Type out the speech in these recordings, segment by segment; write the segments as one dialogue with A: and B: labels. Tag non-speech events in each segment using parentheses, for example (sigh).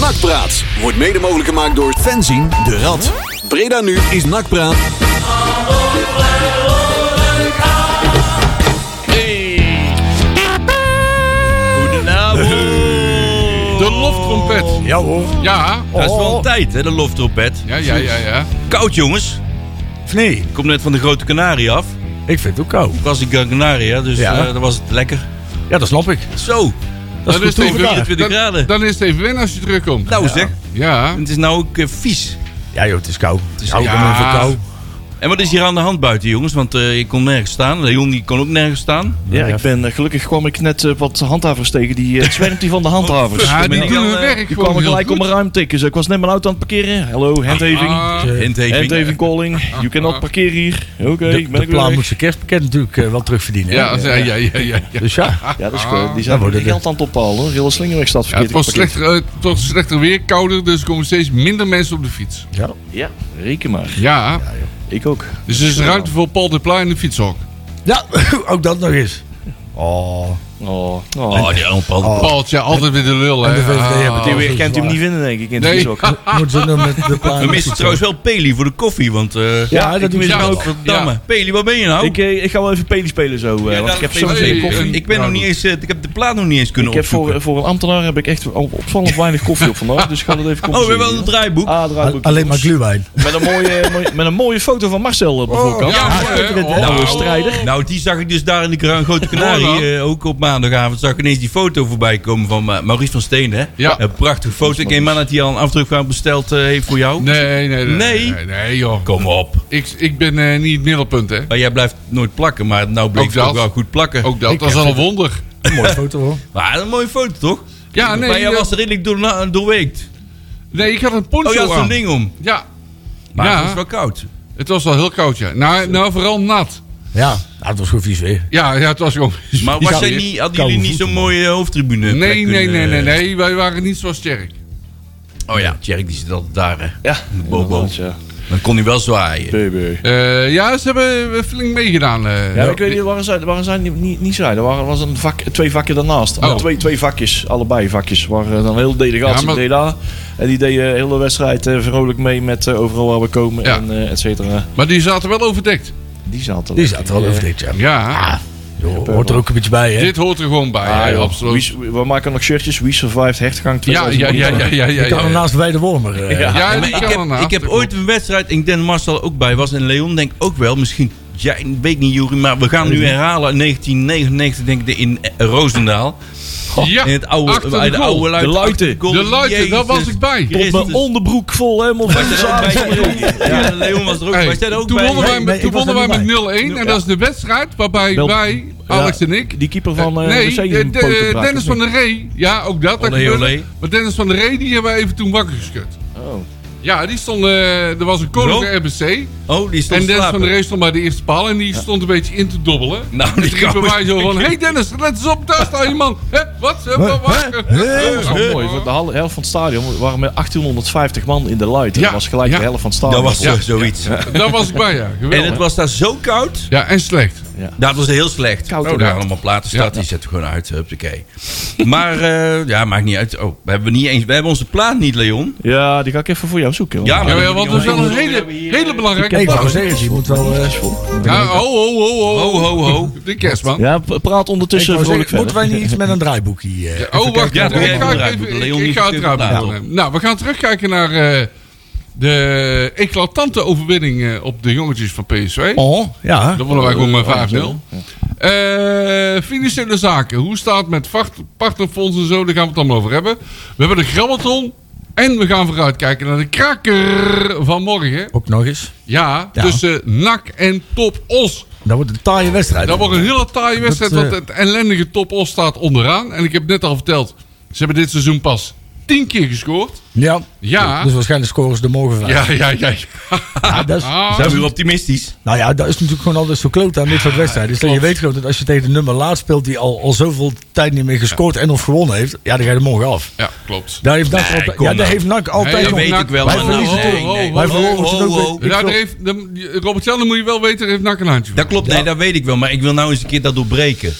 A: Nakpraat wordt mede mogelijk gemaakt door fanzine de Rad. Breda nu is Nakpraat.
B: De loftrompet.
C: Ja hoor.
B: Ja.
C: Oh.
D: Dat is wel een tijd, hè, de loftrompet.
B: Ja, ja, ja, ja.
D: Koud, jongens.
C: Of nee?
D: Ik kom net van de Grote Canarie af.
C: Ik vind het ook koud.
D: Ik was in Gran Canaria, dus
C: Ja.
D: eh, dan was het lekker.
C: Ja, dat snap ik.
D: Zo,
C: Dat is
B: Dan
C: goed
B: het dus even-
C: toegedaan.
D: 24
B: dan,
D: graden.
B: dan is het even winnen als je terugkomt.
D: nou zeg.
B: Ja.
D: Nou, Het is nou ook eh, vies.
C: Ja joh, het is koud. Het is koud.
B: ja.
C: Ja. koud.
D: En wat is hier aan de hand buiten, jongens? Want eh, ik kon nergens staan. Leon die kon ook nergens staan.
E: Ja, ik ben, eh, gelukkig kwam ik net eh, wat handhavers tegen. Die, eh, het zwermt hier van de handhavers.
B: Ja,
D: ben
B: die
D: ik
B: doen
D: al,
B: hun
D: eh,
B: werk
E: Je
B: gewoon
E: kwam er
B: heel
E: gelijk
B: goed.
E: om mijn ruim tikken. Ik was net mijn auto aan het parkeren. Hallo, handhaving.
B: Ah,
D: Handhaving.
E: handhaving calling. You cannot parkeren hier. Oké,
C: De,
E: ben
C: de
E: ik weer
C: plaat moet
E: weg.
C: zijn kerstpakket natuurlijk eh, wel terugverdienen. hè?
B: ja, ja, ja, ja, ja. ja.
C: Dus ja.
E: Ja, dat is goed. Die
C: Ja,
E: zijn
C: wordt
E: ja,
C: het,
E: geld aan het ophalen. hoor. Heel de Slingerweg staat
B: Ja, het
E: verkeerd.
B: wordt
E: geparkeerd.
B: slechter, eh, het wordt slechter weer, kouder, dus er komen steeds minder mensen op de fiets.
C: ja.
E: Ja, reken maar.
B: Ja,
E: Ik ook.
B: dus er is ruimte voor Paul de Pla in de fietshok.
C: Ja, (laughs) ook dat nog eens. Oh.
E: Oh, oh.
D: Oh, die arme Paul.
C: Oh.
B: Paaltje, altijd weer de lul,
C: En
B: hè.
C: de VVD hebben
E: Die
C: Oh,
E: weer
C: zo
E: kent u hem
C: zwaar.
E: niet vinden, denk ik. In
B: Nee.
E: nee. ook.
C: Moeten ze dan met de plaat...
D: We missen trouwens wel Peli voor de koffie, want... eh
C: Ja, dat doen
D: mis
C: ze
D: hem
B: ja.
D: ook. Verdamme. Peli, waar ben je nou?
E: Ik, eh, ik ga wel even peli spelen zo. eh,
D: Ja,
E: want
D: daar-
E: ik heb
D: Peli,
B: Hey,
E: zo'n zin
D: ik-
E: koffie.
B: koffie.
D: Ik ben nog niet eens... eh, ik heb de plaat nog niet eens kunnen
E: Ik heb voor, eh,
D: opzoeken.
E: voor een ambtenaar heb ik echt op- opvallend weinig koffie op vandaag. Dus ik ga dat even
D: Oh, we
E: compenseren.
D: hebben wel een draaiboek.
E: Ah, draaiboek.
C: Alleen maar gluwijn.
E: Met een mooie, mooi- met een mooie foto van Marcel op de voorkant.
B: Oh, ja,
C: Ja,
B: hè.
C: schitterend, hè.
B: Oh.
E: Nou, een strijder.
D: Nou, die zag ik dus daar in de Gran- Grote
B: Hoor dan.
D: Canarie. eh, ook op maandagavond zag ik ineens die foto voorbij komen van eh, Maurice van Steen. Hè?
B: Ja.
D: Een prachtige foto. Ik neem aan dat hij al een afdruk besteld eh, heeft voor jou.
B: Nee, nee, nee.
D: Nee?
B: nee, nee, joh.
D: Kom op.
B: Ik, ik ben eh, niet het middelpunt, hè.
D: Maar jij blijft nooit plakken, maar nou bleek
B: Ook
D: het
B: dat.
D: ook wel goed plakken.
B: Ook dat, dat is al een wonder.
C: Mooie foto hoor.
D: Maar een mooie foto, toch?
B: Ja, nee,
D: maar jij
B: eh,
D: was redelijk door, doorweekt.
B: nee, ik had een poncho
D: Oh, je had zo'n
B: aan.
D: ding om.
B: Ja,
D: Maar
B: Ja.
D: het was wel koud.
B: het was wel heel koud, ja. Nou, nou vooral nat.
C: Ja, nou, het was goed vies weer.
B: Ja, (laughs) ja het was gewoon...
D: Maar was jij niet, hadden jullie
C: Koude
D: niet zo'n
C: voeten,
D: mooie eh, hoofdtribune? plek
B: Nee, nee,
D: kunnen,
B: nee, nee,
D: eh,
B: nee. Wij waren niet zo sterk.
D: Oh ja, Tjerk die zit altijd daar. Hè.
E: Ja, eh,
D: Bobo.
E: inderdaad, ja.
D: Dan kon hij wel zwaaien.
E: Baby.
B: Eh, ja, ze hebben flink meegedaan. eh.
E: Ja, maar ik weet niet, waar zijn, waar zijn die niet, niet zijn. Er waren, was een vak, twee vakken daarnaast.
B: Oh.
E: Twee, twee vakjes, allebei vakjes. Waar eh, dan een hele delegatie
B: Ja, maar-
E: deed aan. En die deden de hele wedstrijd eh, vrolijk mee met eh, overal waar we komen
B: Ja.
E: en eh et cetera.
B: Maar die zaten wel overdekt.
E: Die
C: Die
E: zaten lekker,
C: zat er al
E: eh.
C: over dit, ja.
D: Ah,
B: Ja,
C: Joh, hoort er ook een beetje bij, hè?
B: dit hoort er gewoon bij.
E: Ah,
B: hè,
E: joh.
B: absoluut.
E: We, we maken nog shirtjes. We survived hertgang
B: Ja, ja, ja, ja,
E: 2019.
B: ja, ja.
C: Ik kan
B: ja.
C: er naast bij de Wormer. eh.
E: Ja.
B: Ja,
D: Ja, maar
B: die
D: ik,
B: kan
D: heb,
B: ernaast.
D: ik heb ooit een wedstrijd, ik denk Marcel ook bij was en Leon denk ook wel, misschien, ja, ik weet niet Jury, maar we gaan nu herhalen 1999 denk ik de- in eh, Roosendaal.
B: Ja,
D: in het oude,
B: achter
D: bij de
B: goal.
D: oude luid,
E: De luiten.
D: achter goal.
B: De luiten, daar
D: Jezus
B: was ik bij.
D: Christus.
E: Tot mijn onderbroek vol helemaal van
D: Wij zijn er ook bij, Jeroen. Ja, Leon was er ook bij.
B: Hey,
D: Wij zijn er ook
B: toen
D: bij.
B: wonnen wij,
C: Nee,
B: met-
C: nee,
B: toen
C: ik was
B: wonnen wij
C: er
B: met 0-1.
C: niet
B: En dat is de wedstrijd waarbij
E: Wel-
B: wij, Alex en ik...
E: Die keeper van eh
B: nee,
E: RC is
B: de-
E: een
B: de-
E: poot te
B: Dennis van
E: braken,
B: der Ree. Ja, ook dat. dat
D: Olé,
B: gebeurde.
D: olé.
B: Maar Dennis van der Ree, die hebben we even toen wakker geschud.
E: Oh.
B: Ja, die stond... eh, er was een koninklijke RBC.
D: Oh, die stond
B: En Dennis
D: te
B: van
D: slapen.
B: der Ree stond bij de eerste paal. En die stond een beetje in te dobbelen.
D: Nou,
B: en
D: die
B: die riep bij
D: gozer.
B: mij zo van... Hé hey Dennis, let eens op. Daar staat je man. Hup, wat? Hup,
C: Huh?
B: wat? wat?
C: Huh? Huh?
B: Oh,
E: Dat was mooi. want De hal- helft van het stadion waren met 1850 man in de light.
B: Ja,
E: En dat was gelijk
B: ja.
E: de helft van het
D: Dat
E: stadion.
D: was
E: vol.
D: zo- zoiets.
B: Daar was ik bij, ja.
D: En
B: Geweldig.
D: het was daar zo koud.
B: Ja, en slecht.
D: Dat was heel slecht.
E: Koud
D: oh,
E: ook.
D: daar allemaal platen staat. Die zetten we gewoon uit. Hupsakee. Maar eh, ja, maakt niet uit. Oh, we hebben, niet eens, we hebben onze plaat niet, Leon.
E: Ja, die ga ik even voor jou zoeken. hoor.
D: Ja, maar
B: Ja,
D: dat
B: ja,
D: moet
B: want
D: je
B: dat is wel een
D: omheen.
B: hele, hele belangrijke
C: Ik wou
B: plaat.
C: zeggen, je moet wel... eh,
B: Ja, ho, ho, ho, ho.
D: Ho, ho, ho.
B: (laughs) De kerstman.
E: Ja, p- praat
C: ik
E: ondertussen
C: wou
E: vrolijk
C: zeggen, moeten
E: verder.
C: wij niet iets met een draaiboekje... eh, even
B: Oh, wacht.
C: kijken?
D: Ja,
B: ik
D: doe jij
B: ga
D: even
B: even-
D: eruit,
B: ik-
D: Leon,
B: Ik
D: die
B: ga het
D: stuurt
B: eruit
D: het
B: doen. Nou, we gaan terugkijken naar eh, de eclatante overwinning eh, op de jongetjes van PSV.
C: Oh, ja.
B: Dat wonnen wij gewoon met 5-0. Eh, financiële zaken. Hoe staat het met vacht- partnerfonds en zo? Daar gaan we het allemaal over hebben. We hebben de grammaton. En we gaan vooruitkijken naar de kraker van morgen.
C: Ook nog eens.
B: Ja,
C: Ja.
B: tussen NAC en Top Os.
C: Dat wordt een taaie wedstrijd.
B: Dat wordt een hele taaie wedstrijd,
C: Dat, eh,
B: want het ellendige Top Os staat onderaan. En ik heb net al verteld, ze hebben dit seizoen pas tien keer gescoord.
C: Ja.
B: Ja.
C: Dus waarschijnlijk scoren ze er morgen van.
B: Ja, Ah. ja, ja.
C: Ja, dat is-
D: Zijn we weer optimistisch?
C: nou ja, dat is natuurlijk gewoon altijd zo kloot aan dit soort wedstrijden. Dus dat je
B: klopt.
C: weet gewoon dat als je tegen de nummer laat speelt die al, al zoveel tijd niet meer gescoord en of gewonnen heeft, ja, dan ga je er morgen af.
B: Ja, klopt.
C: Daar heeft NAC
D: Nee,
C: altijd,
D: kom
C: ja, daar
D: nou.
C: heeft NAK altijd
B: Nee,
D: Dat
C: nog-
B: weet
D: weet
B: NAC-
D: ik wel.
C: wij
D: maar-
C: verliezen
D: Nee,
C: toch?
D: nee, nee.
C: Wij verloren
D: Ho,
C: het ook
D: ho,
C: weer.
D: ho.
C: Ik
B: Ja, daar
C: geloof-
B: heeft, de, Robert Jan, dan moet je wel weten, heeft NAC een handje.
D: Dat
B: van.
D: klopt, nee, dat weet ik wel. Maar ik wil nou eens een keer dat doorbreken.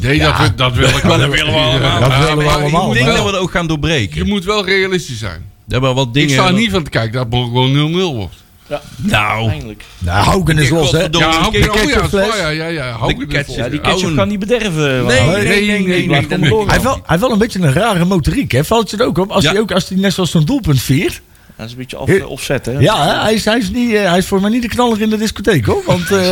B: Nee, dat, wil- dat wil ik wel.
D: (laughs) dat willen we allemaal.
C: dat willen we
D: maar ik
C: allemaal,
D: denk
C: maar-
D: dat we dat ook gaan doorbreken.
B: Je moet wel realistisch zijn.
D: We hebben wel wat dingen...
B: Ik sta er niet van te kijken dat het gewoon 0-0 wordt.
D: Nou,
E: Eindelijk.
C: Nou, Hauken is
D: Ik-
C: los, hè?
D: Godverdomme.
B: Ja, hou ik
C: de
B: oh, ja,
C: ketchupfles.
B: oh, ja, ja, ja. Hou ik
D: De
B: het
D: ketchup.
B: vol.
E: Ja, die
D: Ja,
E: ketchup
D: oh.
E: kan niet bederven.
D: Nee,
E: Wauw.
D: nee, nee, nee, nee,
E: blijf
D: dat
E: maar
D: niet.
E: doorgaan.
C: Hij heeft, wel, hij heeft wel een beetje een rare motoriek, hè? Valt je het ook op? Als
D: Ja.
C: hij ook als hij net zoals zo'n doelpunt viert.
E: Dat is een beetje af, offset, hè?
C: Ja, hè, hij is, hij, is niet, eh, hij is voor mij niet de knaller in de discotheek, hoor.
D: (laughs)
C: Want, eh,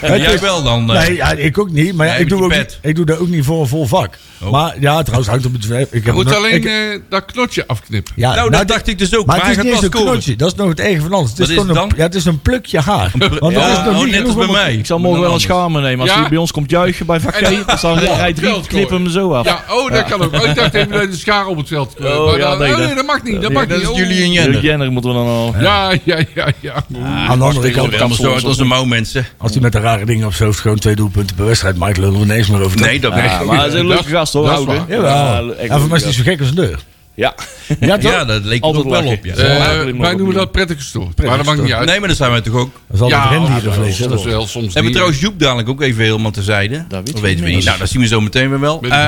C: het
D: jij
C: is-
D: wel dan. eh.
C: Nee, ja, ik ook niet. Maar ja,
D: Nee,
C: ik,
D: met
C: doe ook,
D: die
C: niet-
D: pet.
C: ik doe dat ook niet voor een vol vak.
D: Oh.
C: Maar ja, trouwens, hangt op het zwerf. Ik
B: Je
C: heb
B: moet
C: nog-
B: alleen
C: ik-
B: eh, dat knotje afknippen.
C: ja,
D: nou, dat
C: dit-
D: dacht ik dus ook.
C: Maar het is
D: hij
C: niet eens
D: gaat
C: een
D: wel scoren.
C: knotje. Dat is nog het erg van alles. Het is,
D: Wat is
C: gewoon
D: het
C: een,
D: dan?
C: ja, het is een plukje haar. Want dat
D: Ja,
C: is nog
D: oh,
C: niet
D: net als
C: genoeg
D: bij
C: om-
D: mij.
E: Ik zal morgen wel een schamen nemen. Als
B: Ja.
E: hij bij ons komt juichen bij vak
B: En-
E: G, dan zal hij rij 3
B: Veldkooi.
E: knip hem zo af.
B: Ja, oh, dat kan ook. Oh, ik dacht even dat je de schaar op het veld eh,
E: Oh,
B: maar
E: ja,
B: dat-
E: nee,
B: oh,
E: dat-
B: nee, dat mag niet. Dat
E: nee,
B: mag
D: dat
B: niet.
D: is
B: Oh.
D: jullie en
E: Jurk
D: Jenner.
E: Jenner moeten we dan al...
B: Ja, ja, ja, ja.
C: Aan de andere kant,
D: Ik allemaal zo uit als de mouw, mensen.
C: als hij met de rare dingen op zijn hoofd gewoon twee doelpunten per wedstrijd maakt, lullen we ineens meer over.
D: Nee, dat
E: Ja, maar hij is een leuke gast hoor,
B: dat is
E: oude.
B: waar.
C: Jawel.
E: echt
C: Ja,
E: leuke
C: voor mij is hij
E: gast.
C: zo gek als een deur.
E: Ja.
C: Ja, toch?
D: Ja, dat leek er
E: Altijd
D: ook wel
E: lachen.
D: op. Ja.
E: Ja.
B: Eh,
E: Ja.
B: wij noemen dat prettig gestoord. Maar dat maakt niet uit.
D: Nee, maar daar zijn wij toch ook.
C: Dat is altijd
B: Ja,
C: rendierenvlees.
B: dat is
C: hè?
B: wel soms
D: Hebben we
B: niet.
D: trouwens Joep dadelijk ook even helemaal terzijde?
E: Dat weten
D: Dat
E: we
D: weten we
E: niet.
D: niet. Nou, dat zien we zo meteen weer wel.
B: Weet ik
D: Eh,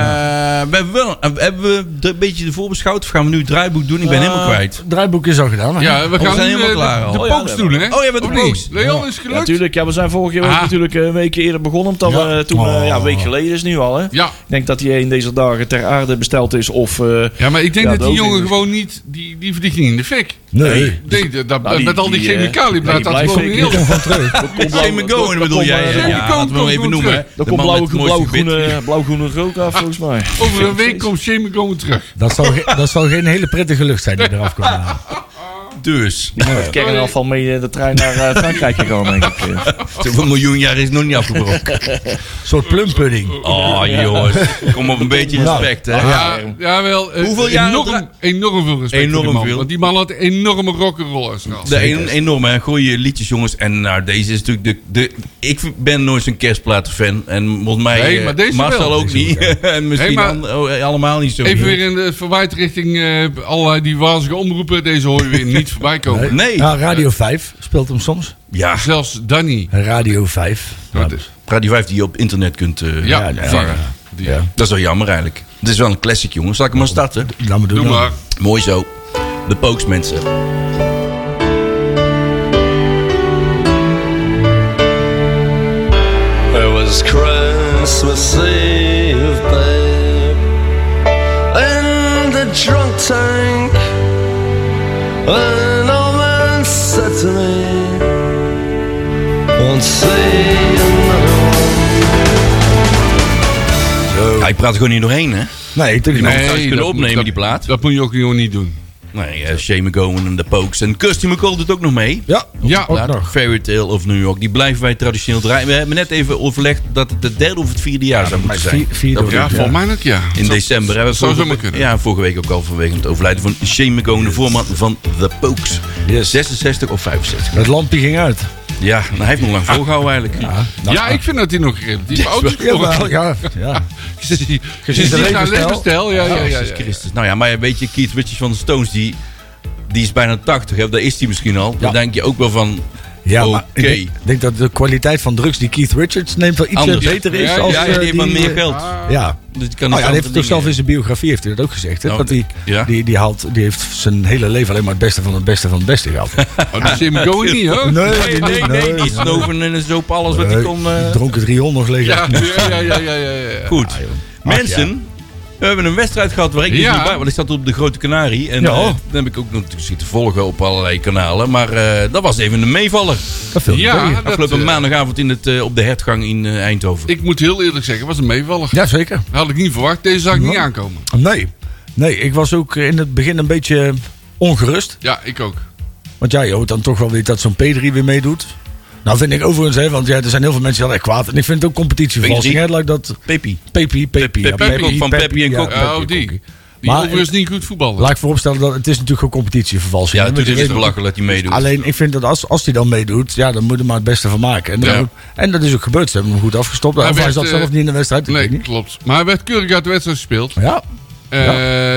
D: we hebben, wel eh, hebben we de- een beetje de voorbeschouwd of gaan we nu het draaiboek doen? Ik ben helemaal kwijt.
C: Het draaiboek is al gedaan. hè?
B: Ja, we
D: we
B: gaan
D: zijn
B: nu
D: helemaal
B: eh,
D: klaar al.
B: de, de
E: Oh, ja,
B: pokes
E: dat
B: doen, hè?
D: Oh, ja, met de
B: Of niet?
D: pokes.
B: Leon is gelukt. Ja,
E: Natuurlijk, ja, we zijn vorige week
B: Ah.
E: natuurlijk een week eerder begonnen. Omdat
C: Ja.
E: we toen, eh, ja, een week
C: Oh.
E: geleden is nu al. Hè. Ik denk dat hij een deze dagen ter aarde besteld is. Of eh,
B: Ja, maar ik denk
E: Ja,
B: dat
E: dat
B: die
E: ook
B: jongen
E: niet.
B: gewoon niet... Die, die vliegt niet in de fik.
C: Nee.
B: Nee, dat- dat-
E: Nou, die-
B: met al die,
E: die, eh,
B: chemicaliën
E: nee,
B: blijft
E: die
B: dat
E: blijft
B: gewoon
E: zeker
B: heel...
C: Van terug.
E: komt blauw-
D: Jamie Goen
E: dat
D: bedoel
E: komt,
D: jij.
E: eh,
D: Ja,
B: Jamie Goen
D: ja, laten we hem
B: komt
D: even
B: goed
D: noemen. hè.
B: terug.
E: Er
D: De
E: komt
D: man met
E: blauw,
D: het mooiste gebit.
E: (laughs) blauw-groene blauw rook af volgens mij.
B: (laughs) (laughs) Over een week komt Jamie Gowen terug.
C: Dat zal, ge- dat zal geen hele prettige lucht zijn die eraf komt.
D: Dus, (laughs)
E: Die moet met kernafval mee eh, de trein naar eh, Frankrijk gegaan denk ik. eh.
D: een miljoen jaar is nog niet afgebroken.
C: Een soort plumpudding.
D: Oh, jongens. Kom op een beetje respect, hè.
B: nou Ja, jawel. eh,
D: Hoeveel jaren
B: Enorm,
D: dra-
B: enorm veel respect
D: Enorm
B: voor die man,
D: veel.
B: Want die man had een enorme rock'n'roll uitstraling.
D: De een, enorme hè, goede liedjes, jongens. En nou, deze is natuurlijk de, de. Ik ben nooit zo'n kerstplatenfan. En volgens mij.
B: Nee,
D: eh,
B: maar deze
D: Marcel
B: wel.
D: ook niet. (laughs) en misschien
B: Nee, maar-
D: an- oh, eh, allemaal niet zo.
B: Even weer in de verwijt richting eh, allerlei die wazige omroepen. Deze hoor je weer niet voorbij komen.
D: Nee.
C: Ja, Radio 5 speelt hem soms.
D: Ja,
B: Zelfs Danny.
C: Radio 5.
B: Wat
C: Nou,
B: is-
D: Radio 5 die je op internet kunt eh,
B: Ja,
C: ja,
B: vangen.
C: ja.
B: Die-
C: Ja.
D: Dat is wel jammer eigenlijk. Het is wel een classic, jongens. Zal ik hem maar starten?
C: Laat me doen.
B: Doe
C: dan.
B: maar.
D: Mooi zo. De Pokes, mensen.
F: It was Christmas Eve, babe. In the drunk tank, an old man said to me, Won't see another one.
D: Ja, ik praat er gewoon niet doorheen, hè?
C: Nee, natuurlijk
D: Nee.
C: niet.
D: thuis kunnen
B: dat
D: opnemen,
B: moet- dat-
D: die plaat.
B: Dat moet je ook gewoon niet doen.
D: Nee, eh Shane McGowan en de Pokes. En Kirsty McCall doet ook nog mee.
C: Ja,
B: Ja.
C: ook
D: Laat-
C: nog.
D: Fairy Tale of New York. Die blijven wij traditioneel draaien. We hebben net even overlegd dat het de derde of het vierde jaar zou moeten zijn.
C: vier- vierde
D: Dat we
C: of
B: Ja,
C: Ja.
B: volgens mij ook, ja.
D: In december hebben we
B: zou
D: vorige,
B: zomaar kunnen.
D: Ja, vorige week ook al vanwege het overlijden van Shane McGowan, de voorman van The Pokes.
C: Yes.
D: 66 of 65.
C: Het lampje ging uit. Nou,
D: Ja, nou, hij heeft nog
B: Ah.
D: lang volgehouden eigenlijk.
B: Ja, ik vind dat hij nog relatief oud is
C: Jawel,
B: geworden.
C: ja. ja.
B: (laughs) Ze zien
C: de
B: naar
C: levensstijl.
B: levensstijl. Ja, ja, ja,
D: Jezus
B: ja.
D: Christus. Nou ja, maar weet je, Keith Richards van de Stones, die, die is bijna 80. Hè? Daar is hij misschien al. Dan denk je ook wel van...
C: ja maar
D: Oké.
C: ik denk, ik denk dat de kwaliteit van drugs die Keith Richards neemt wel iets
D: Anders.
C: beter is.
B: Ja,
C: als,
D: ja,
C: eh,
D: die heeft maar meer
C: eh,
D: geld.
B: Ah,
C: Ja.
D: Dus die kan dus
C: Nou ja, hij
D: andere
C: heeft het toch zelf
D: dingen-
C: in zijn biografie heeft hij dat ook gezegd. Hè?
D: Nou,
C: dat die,
D: ja.
C: die, die, haalt, die heeft zijn hele leven alleen maar het beste van het beste van het beste gehaald.
D: (laughs)
B: Oh, dat is Jim Gowen niet, hoor.
D: Nee, nee, nee. Die snoven en zoop alles wat hij
C: Nee, Ah,
D: kon. eh,
C: die dronk het riool nog leeg.
B: Ja, ja, ja, ja, ja, ja, ja.
D: Goed. Mensen, we hebben een wedstrijd gehad waar ik
B: Ja.
D: dus niet bij want ik zat op de Grote Canarie. En
C: Ja.
D: eh, dat heb ik ook natuurlijk zitten volgen op allerlei kanalen. Maar eh, dat was even een meevaller.
C: Dat viel
B: Ja,
C: ja.
B: dat,
D: Afgelopen
B: eh,
D: maandagavond in het, eh, op de hertgang in eh, Eindhoven.
B: Ik moet heel eerlijk zeggen, het was een meevaller.
C: (laughs) ja, zeker.
B: Had ik niet verwacht. Deze zag ik niet aankomen.
C: Nee. nee, ik was ook in het begin een beetje ongerust.
B: Ja, ik ook.
C: Want ja, je hoort dan toch wel weer dat zo'n P3 weer meedoet. Nou vind ik overigens, hè, want ja, er zijn heel veel mensen die al echt kwaad. En ik vind het ook competitievervalsing.
D: P3.
C: Hè, like dat
D: Pepi.
C: Pepi, Pepi. ja,
D: Pepi, van Pepi en
C: ja,
D: Kok.
C: Pepi
B: Ja,
C: en
B: oh, die.
C: Kokkie.
B: Die
C: Maar- eh,
B: overigens niet goed voetballen.
C: Laat ik vooropstellen dat het is natuurlijk ook competitievervalsing.
D: Ja,
C: hè, want
D: natuurlijk
C: je
D: is het
C: weet-
D: belachelijk dat hij meedoet.
C: Alleen ik vind dat als, als hij dan meedoet, ja, dan moet hij maar het beste van maken. En, dan-
B: Ja.
C: en dat is ook gebeurd. Ze hebben hem goed afgestopt.
B: Hij
C: Of hij
B: werd,
C: zat
B: eh,
C: zelf niet in de wedstrijd. ik
B: Nee,
C: weet niet.
B: klopt. Maar hij werd keurig uit de wedstrijd gespeeld.
C: Ja,
B: Eh,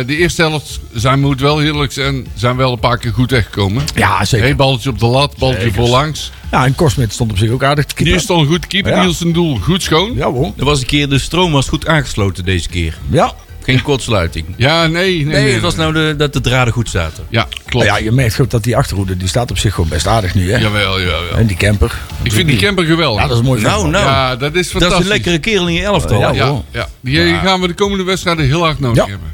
B: De eerste helft zijn moet wel heerlijk zijn. Zijn wel een paar keer goed weggekomen.
C: Ja, zeker.
B: Hey, balletje op de lat, balletje
C: Zeker.
B: voorlangs.
C: Ja, en Korsmit stond op zich ook aardig te
B: Die
C: keeper.
B: stond goed te keeper.
C: Ja.
B: Niels zijn doel goed schoon. Ja,
C: Ja, hoor.
D: Er was een keer, de stroom was goed aangesloten deze keer.
C: Ja.
D: Geen kortsluiting. Nee,
B: nee, nee. nee,
D: het was nou de, dat de draden goed zaten.
B: Ja,
C: Nou
B: klopt.
C: ja, je merkt goed dat die achterhoede, die staat op zich gewoon best aardig nu, hè.
B: Jawel, jawel.
C: En die camper.
B: Ik vind die camper geweldig.
C: Ja, dat is mooi.
D: Nou,
C: voetbal.
D: nou.
B: Ja, dat is
D: Dat
B: fantastisch.
D: is een lekkere kerel in je elftal.
C: Ja,
B: Ja,
C: hoor.
B: ja. Die gaan we de komende wedstrijden heel hard nodig
C: Ja.
B: hebben.